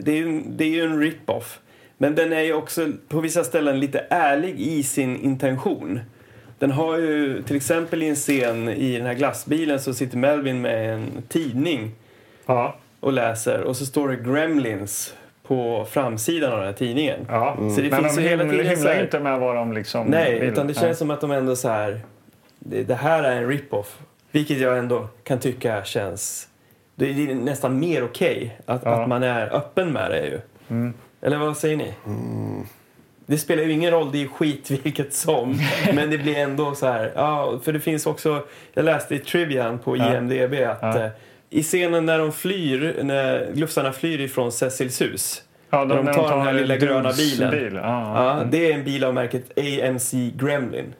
B: det är ju en, det är ju en rip-off. Men den är ju också på vissa ställen lite ärlig i sin intention. Den har ju till exempel i en scen i den här glassbilen så sitter Melvin med en tidning
A: Ja,
B: och läser och så står det Gremlins på framsidan av den här tidningen.
A: ja.
B: Så det
A: Men
B: finns
A: de
B: ju hela
A: himlar,
B: tiden så
A: himlar
B: här-
A: inte med vad de liksom
B: Nej,
A: vill.
B: utan det känns som att de ändå så här... Det, det här är en rip-off. Vilket jag ändå kan tycka känns... Det är nästan mer okej att,
A: Ja.
B: att man är öppen med det ju. Mm. Eller vad säger ni? Det spelar ju ingen roll, det är skit vilket som. Men det blir ändå så här... Ja, för det finns också... Jag läste i trivian på IMDB att eh, i scenen när de flyr, när glufsarna flyr ifrån Cecils hus.
A: Ja,
B: när de
A: när
B: tar den här lilla gröna
A: Dubs
B: bilen.
A: Bil. Ja.
B: Ja, det är en bil av märket AMC Gremlin.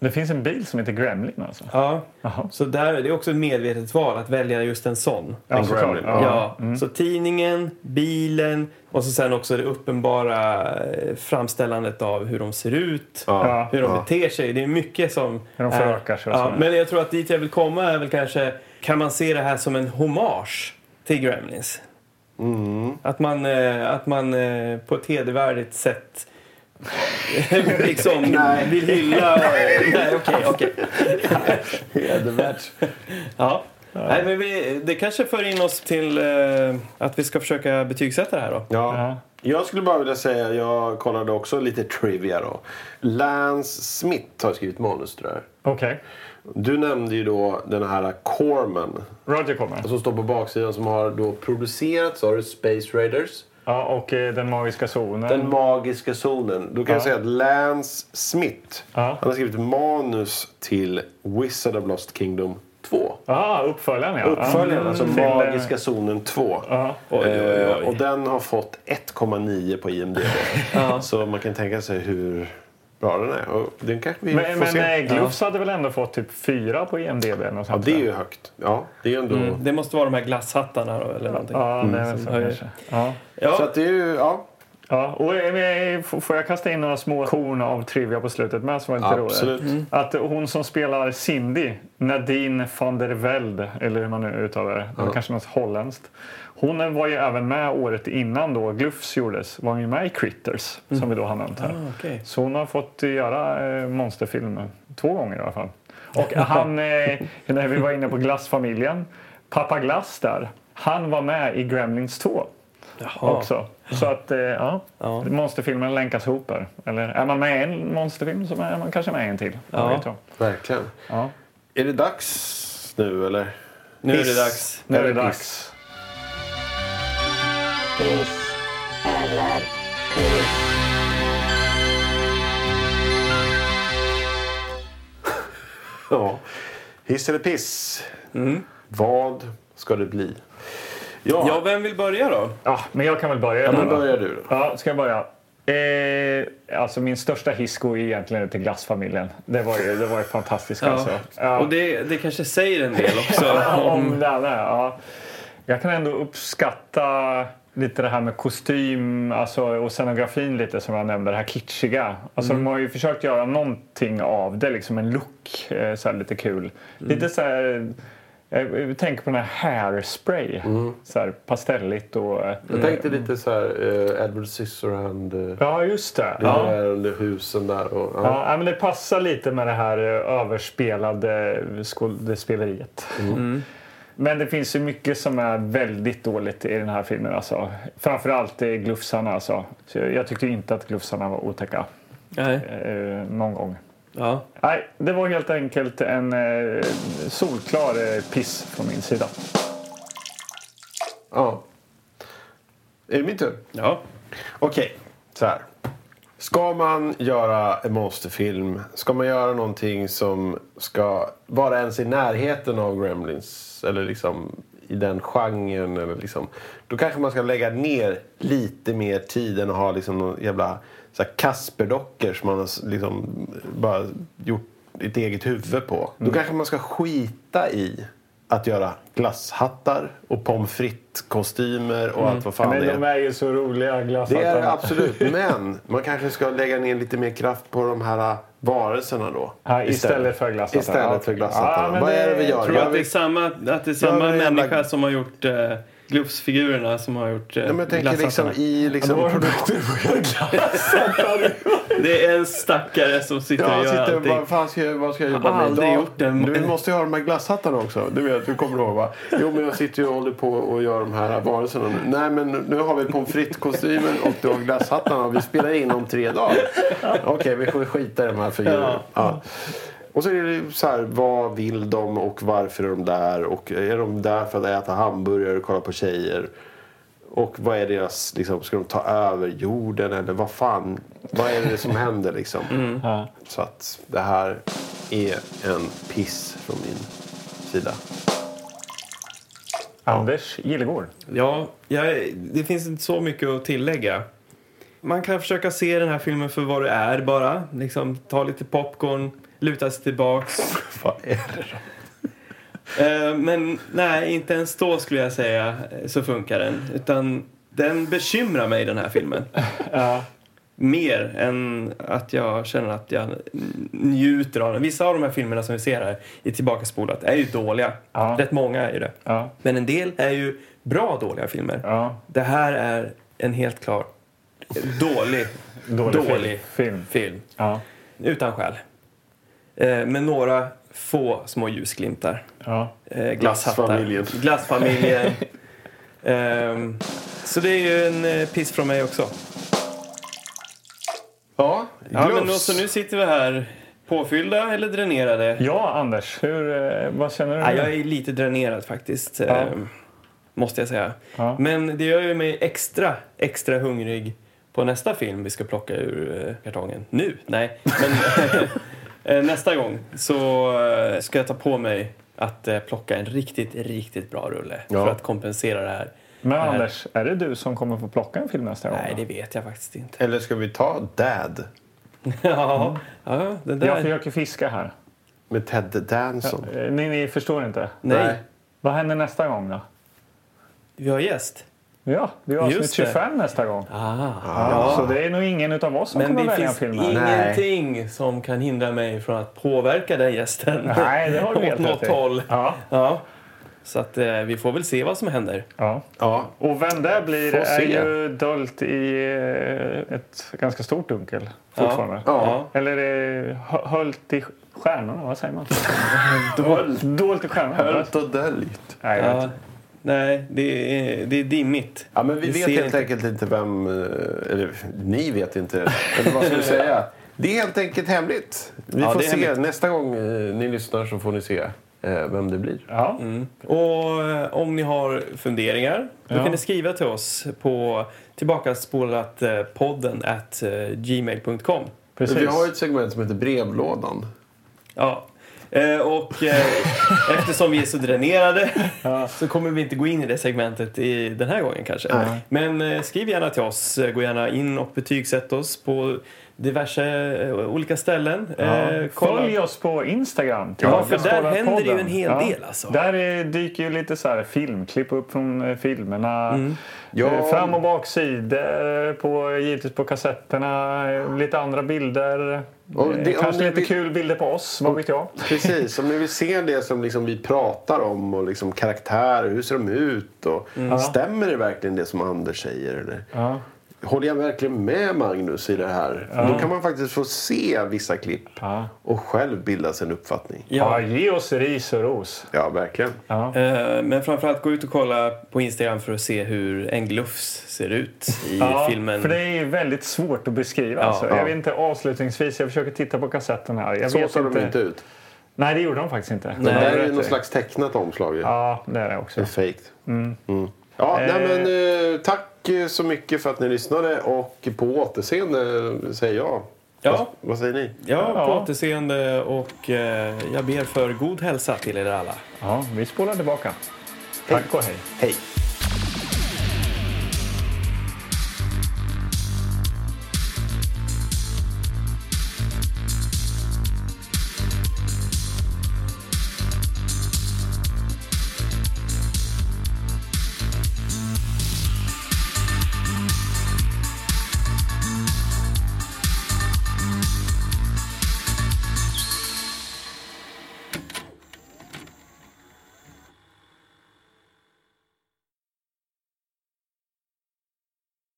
A: Det finns en bil som heter Gremlin alltså.
B: Ja.
A: Jaha.
B: Så där, det är också ett medvetet val att välja just en sån.
A: Ja, Mm. såklart.
C: Gremlin.
A: Ja.
B: Ja, så tidningen, bilen och så sen också det uppenbara eh, framställandet av hur de ser ut,
A: Ja.
B: hur de beter sig. Det är mycket som...
A: Hur de
B: är-
A: förökar sig och
B: ja,
A: sådär.
B: Men jag tror att dit jag vill komma är väl kanske, kan man se det här som en hommage till Gremlins?
A: Mm.
B: Att man, eh, att man eh, på ett hedervärdigt sätt liksom vill hylla... Nej, okej, okej.
C: Hedervärt.
B: Ja. Nej, men vi, det kanske för in oss till eh, att vi ska försöka betygsätta det här då.
C: Ja.
A: Ja.
C: Jag skulle bara vilja säga, jag kollade också lite trivia då. Lance Smith har skrivit manus till det här.
A: Okej.
C: Du nämnde ju då den här Corman
A: Roger kommer.
C: som står på baksidan som har då producerat, sa du, Space Raiders.
A: Ja, och eh, Den magiska zonen.
C: Den magiska zonen. Då kan jag
A: Mm. Ja.
C: säga att Lance Smith,
A: Ja.
C: han har skrivit manus till Wizard of Lost Kingdom 2.
A: Ja, Ah, uppföljaren ja.
C: Uppföljaren,
A: Mm,
C: alltså
A: till, eh,
C: Magiska zonen 2.
A: Ja.
C: Eh, Och den har fått 1,9 på IMDB. Så man kan tänka sig hur bra den är. Och den kanske vi
A: Men,
C: får
A: men eh,
C: se.
A: Glufs hade väl ändå fått typ fyra på IMDB? Ja,
C: Ja, det är ju högt. Ja, det är ändå...
A: Mm.
B: Det måste vara de här glasshattarna då, eller någonting.
A: Ja, det
B: Mm.
A: är väl så kanske. Ja.
B: Ja.
C: Så att det är ju... Ja,
A: Ja, och eh, eh, f- får jag kasta in några små korn av trivia på slutet med som var lite
C: Absolut.
A: roligt? Att hon som spelar Cindy, Nadine van der Velde, eller hur man nu uttalar det, det var kanske något holländskt. Hon eh, var ju även med året innan då Glufs gjordes, var hon ju med i Critters som vi då har nämnt här.
B: okej.
A: Så hon har fått göra eh, monsterfilmer två gånger i alla fall. Och han, eh, när vi var inne på glassfamiljen, pappa Glass där, han var med i Gremlins 2 också. Så att, eh, ja.
B: Ja.
A: Monsterfilmerna länkas ihop här. Eller är man med i en monsterfilm så är man kanske med i en till.
B: Ja.
A: Ja. Vet jag.
C: verkligen.
A: Ja.
C: Är det dags nu, eller?
B: Nu är det
C: Hiss.
B: dags.
A: Nu är det
C: Eller
A: dags.
C: Ja. Hiss eller piss?
B: Mm.
C: Vad ska det bli? Ja,
B: Ja, vem vill börja då?
A: Ja, men jag kan väl börja.
C: ja
A: då,
C: men
A: då.
C: börjar du då.
A: Ja, ska jag börja? Eh, alltså min största hiss går ju egentligen till glassfamiljen. Det var ju, det var ju fantastiskt alltså. Ja.
B: Och det, det kanske säger en del också.
A: Om det andra, ja. Jag kan ändå uppskatta lite det här med kostym alltså, och scenografin lite som jag nämnde, det här kitschiga. Alltså, De har ju försökt göra någonting av det, liksom en look, eh, så här lite kul. Lite så här, jag jag tänker på den här hairspray, så här pastelligt och... eh,
C: Jag tänkte lite så här, eh, Edward Scissorhand. eh,
A: Ja, just det.
C: Det
A: Ja.
C: här under husen där. Och, ja.
A: Ja, nej, men det passar lite med det här eh, överspelade eh, skådespeleriet.
C: Mm.
A: Men det finns ju mycket som är väldigt dåligt i den här filmen. Alltså. Framförallt eh, glufsarna. Alltså. Så jag jag tyckte inte att glufsarna var otäcka
B: Nej.
A: eh, någon gång.
B: Ja.
A: Nej, det var helt enkelt en eh, solklar eh, piss från min sida.
C: Ja. Är det min tur?
B: Ja.
C: Okej, så här. Ska man göra en monsterfilm, ska man göra någonting som ska vara ens i närheten av Gremlins, eller liksom i den genren, eller liksom, då kanske man ska lägga ner lite mer tid än att ha liksom någon jävla så här Kasperdockor som man har s- liksom bara gjort ett eget huvud på. Då
A: Mm.
C: kanske man ska skita i att göra glasshattar och pommes frites-kostymer och allt vad fan
A: Mm. Men
C: det är.
A: de är ju så roliga
C: Det är det
A: glasshattarna.
C: absolut, men man kanske ska lägga ner lite mer kraft på de här äh, varelserna då.
A: Ja, istället för glasshattarna.
C: Istället för
A: Ja,
C: glasshattarna.
A: men
C: Vad är det vi gör?
A: tror
B: Tror du
C: Jag
B: att det är
C: vill-
B: samma, att det är samma
C: Jag vill jävla-
B: människa som har gjort eh, Glufs-figurerna som har gjort eh,
C: Ja, men jag tänker liksom
B: glasshattarna?
C: i liksom
A: Ja, då var det-
B: Det är en stackare som sitter
C: Ja,
B: och
C: jag
B: gör
C: sitter och
B: allting.
C: bara, fan ska jag, vad ska jag
B: Jag
C: jobba
B: har
C: med
B: aldrig
C: idag?
B: gjort den.
C: Du måste ju ha de här glasshattarna också. Du vet, du kommer ihåg va? Jo, men jag sitter ju och håller på och gör de här varelserna nu. Nej, men nu har vi pommes frites-kostymen och du har glasshattarna och vi spelar in om tre dagar. Okej, vi får skita i de här figurerna. Ja. Och så är det ju så här, vad vill de och varför är de där? Och är de där för att äta hamburgare och kolla på tjejer? Och vad är deras, liksom, ska de ta över jorden eller vad fan, vad är det som händer liksom?
B: Mm.
C: Så att det här är en piss från min sida.
A: Anders Gillegård.
B: Ja, jag, det finns inte så mycket att tillägga. Man kan försöka se den här filmen för vad det är bara. Liksom, ta lite popcorn, luta sig tillbaks.
C: Vad är det?
B: Eh, Men nej, inte ens då skulle jag säga eh, så funkar den. Utan den bekymrar mig den här filmen. Mer än att jag känner att jag n- njuter av den. Vissa av de här filmerna som vi ser här i Tillbakaspolat är ju dåliga.
A: Ja.
B: Rätt många är ju det.
A: Ja.
B: Men en del är ju bra dåliga filmer.
A: Ja.
B: Det här är en helt klart dålig,
A: Dålig,
B: dålig
A: film. film.
B: film.
A: Ja.
B: Utan skäl. Eh, Med några få små ljusglimtar.
A: Ja.
B: Eh, glasshattar.
C: Glassfamiljen.
B: Glassfamiljen. Ehm, så det är ju en eh, piss från mig också.
C: Ja,
B: Ja, men då,
C: Glufs.
B: så nu sitter vi här påfyllda eller dränerade?
A: Ja, Anders, hur, eh, vad känner du?
B: Ja, jag är lite dränerad faktiskt, ehm, måste jag säga.
A: Ja.
B: Men det gör ju mig extra, extra hungrig på nästa film vi ska plocka ur eh, kartongen. Nu? Nej, men eh, nästa gång så eh, ska jag ta på mig att eh, plocka en riktigt, riktigt bra rulle för att kompensera det här.
A: Men
B: här.
A: Anders, är det du som kommer få plocka en film nästa gång?
B: Nej,
A: då?
B: det vet jag faktiskt inte.
C: Eller ska vi ta Dad
B: ja, ja, det där.
A: Jag försöker fiska här.
C: med Ted Danson?
A: Eh, Ni, ni förstår inte.
B: Nej,
A: Vad händer nästa gång då?
B: vi har gäst.
A: Ja, det är avsnitt
B: Just det.
A: 25 nästa gång.
B: Ah.
A: Ja. Så det är nog ingen av oss som
B: Men
A: kommer
B: det
A: välja en
B: finns
A: film här.
B: ingenting som kan hindra mig från att påverka den gästen.
A: Nej, det har du helt
B: Åt något
A: rätt i.
B: håll.
A: Ja,
B: Ja. Så att eh, vi får väl se vad som händer.
A: ja.
C: Ja,
A: Och vem det blir
C: Får
A: är
C: se.
A: ju dolt i eh, ett ganska stort dunkel fortfarande.
B: Ja.
A: Eller eh, hö- höljt i stjärnorna, vad säger man? dolt i stjärnorna?
C: Höljt och döljt.
A: Nej, jag vet
B: Ja.
A: inte.
B: Nej, det är, det är dimmigt.
C: Ja, men vi vet
B: ser
C: helt
B: inte.
C: enkelt inte vem... eh, Eller ni vet inte. Eller vad ska vi säga? Det är helt enkelt hemligt. Vi
B: Ja,
C: får
B: det är
C: se.
B: hemligt.
C: Nästa gång eh, ni lyssnar så får ni se eh, vem det blir.
A: Ja.
B: Och eh, om ni har funderingar, då
A: Ja.
B: kan ni skriva till oss på tillbakaspolatpodden at eh, gmail.com.
A: Precis.
C: Vi har ju ett segment som heter Brevlådan.
B: Ja. Eh, och eh, eftersom vi är så dränerade så kommer vi inte gå in i det segmentet i den här gången kanske. Men eh, skriv gärna till oss. Eh, Gå gärna in och betygsätt oss på diverse eh, olika ställen. Eh, kolla.
A: Följ oss på Instagram.
B: Ja, för
A: Tillbakaskålarpodden.
B: där händer det ju en hel del, alltså.
A: Där eh, dyker ju lite så här filmklipp upp från eh, filmerna.
B: Mm.
A: Eh, Fram och baksidor, på, givetvis på kassetterna, eh, lite andra bilder.
C: Och
A: Eh,
C: det- om
A: Kanske
C: ni
A: lite
C: vill-
A: kul bilder på oss, vad vet jag.
C: Precis, om ni vill se det som liksom vi pratar om och liksom karaktärer, hur ser de ut? Och Stämmer det verkligen det som Anders säger? Eller?
A: Mm. Ja.
C: Håller jag verkligen med Magnus i det här? Då kan man faktiskt få se vissa klipp
A: Ja.
C: och själv bilda sig en uppfattning.
A: Ja.
B: Ja.
A: ge oss ris och ros.
C: Ja, verkligen.
B: Eh, men framförallt gå ut och kolla på Instagram för att se hur en glufs ser ut i filmen.
A: För det är ju väldigt svårt att beskriva. alltså.
B: ja.
A: Jag vet inte, avslutningsvis, jag försöker titta på kassetten här. Jag
C: Så
A: vet
C: såg de inte ut.
A: Nej, det gjorde de faktiskt inte.
C: Det
A: Det har
C: här
A: du
C: är
A: rätt
C: ju
A: i.
C: någon slags tecknat omslag. ju.
A: Ja, det är det också.
C: Det är fejkt. Mm. Ja, nej, men, eh, tack eh, så mycket för att ni lyssnade och på återseende eh, säger jag. Vad,
B: Ja,
C: vad säger ni?
B: ja, på
A: Ja.
B: återseende och eh, jag ber för god hälsa till er alla.
A: Ja, vi spolar tillbaka. Tack och hej.
C: Hej!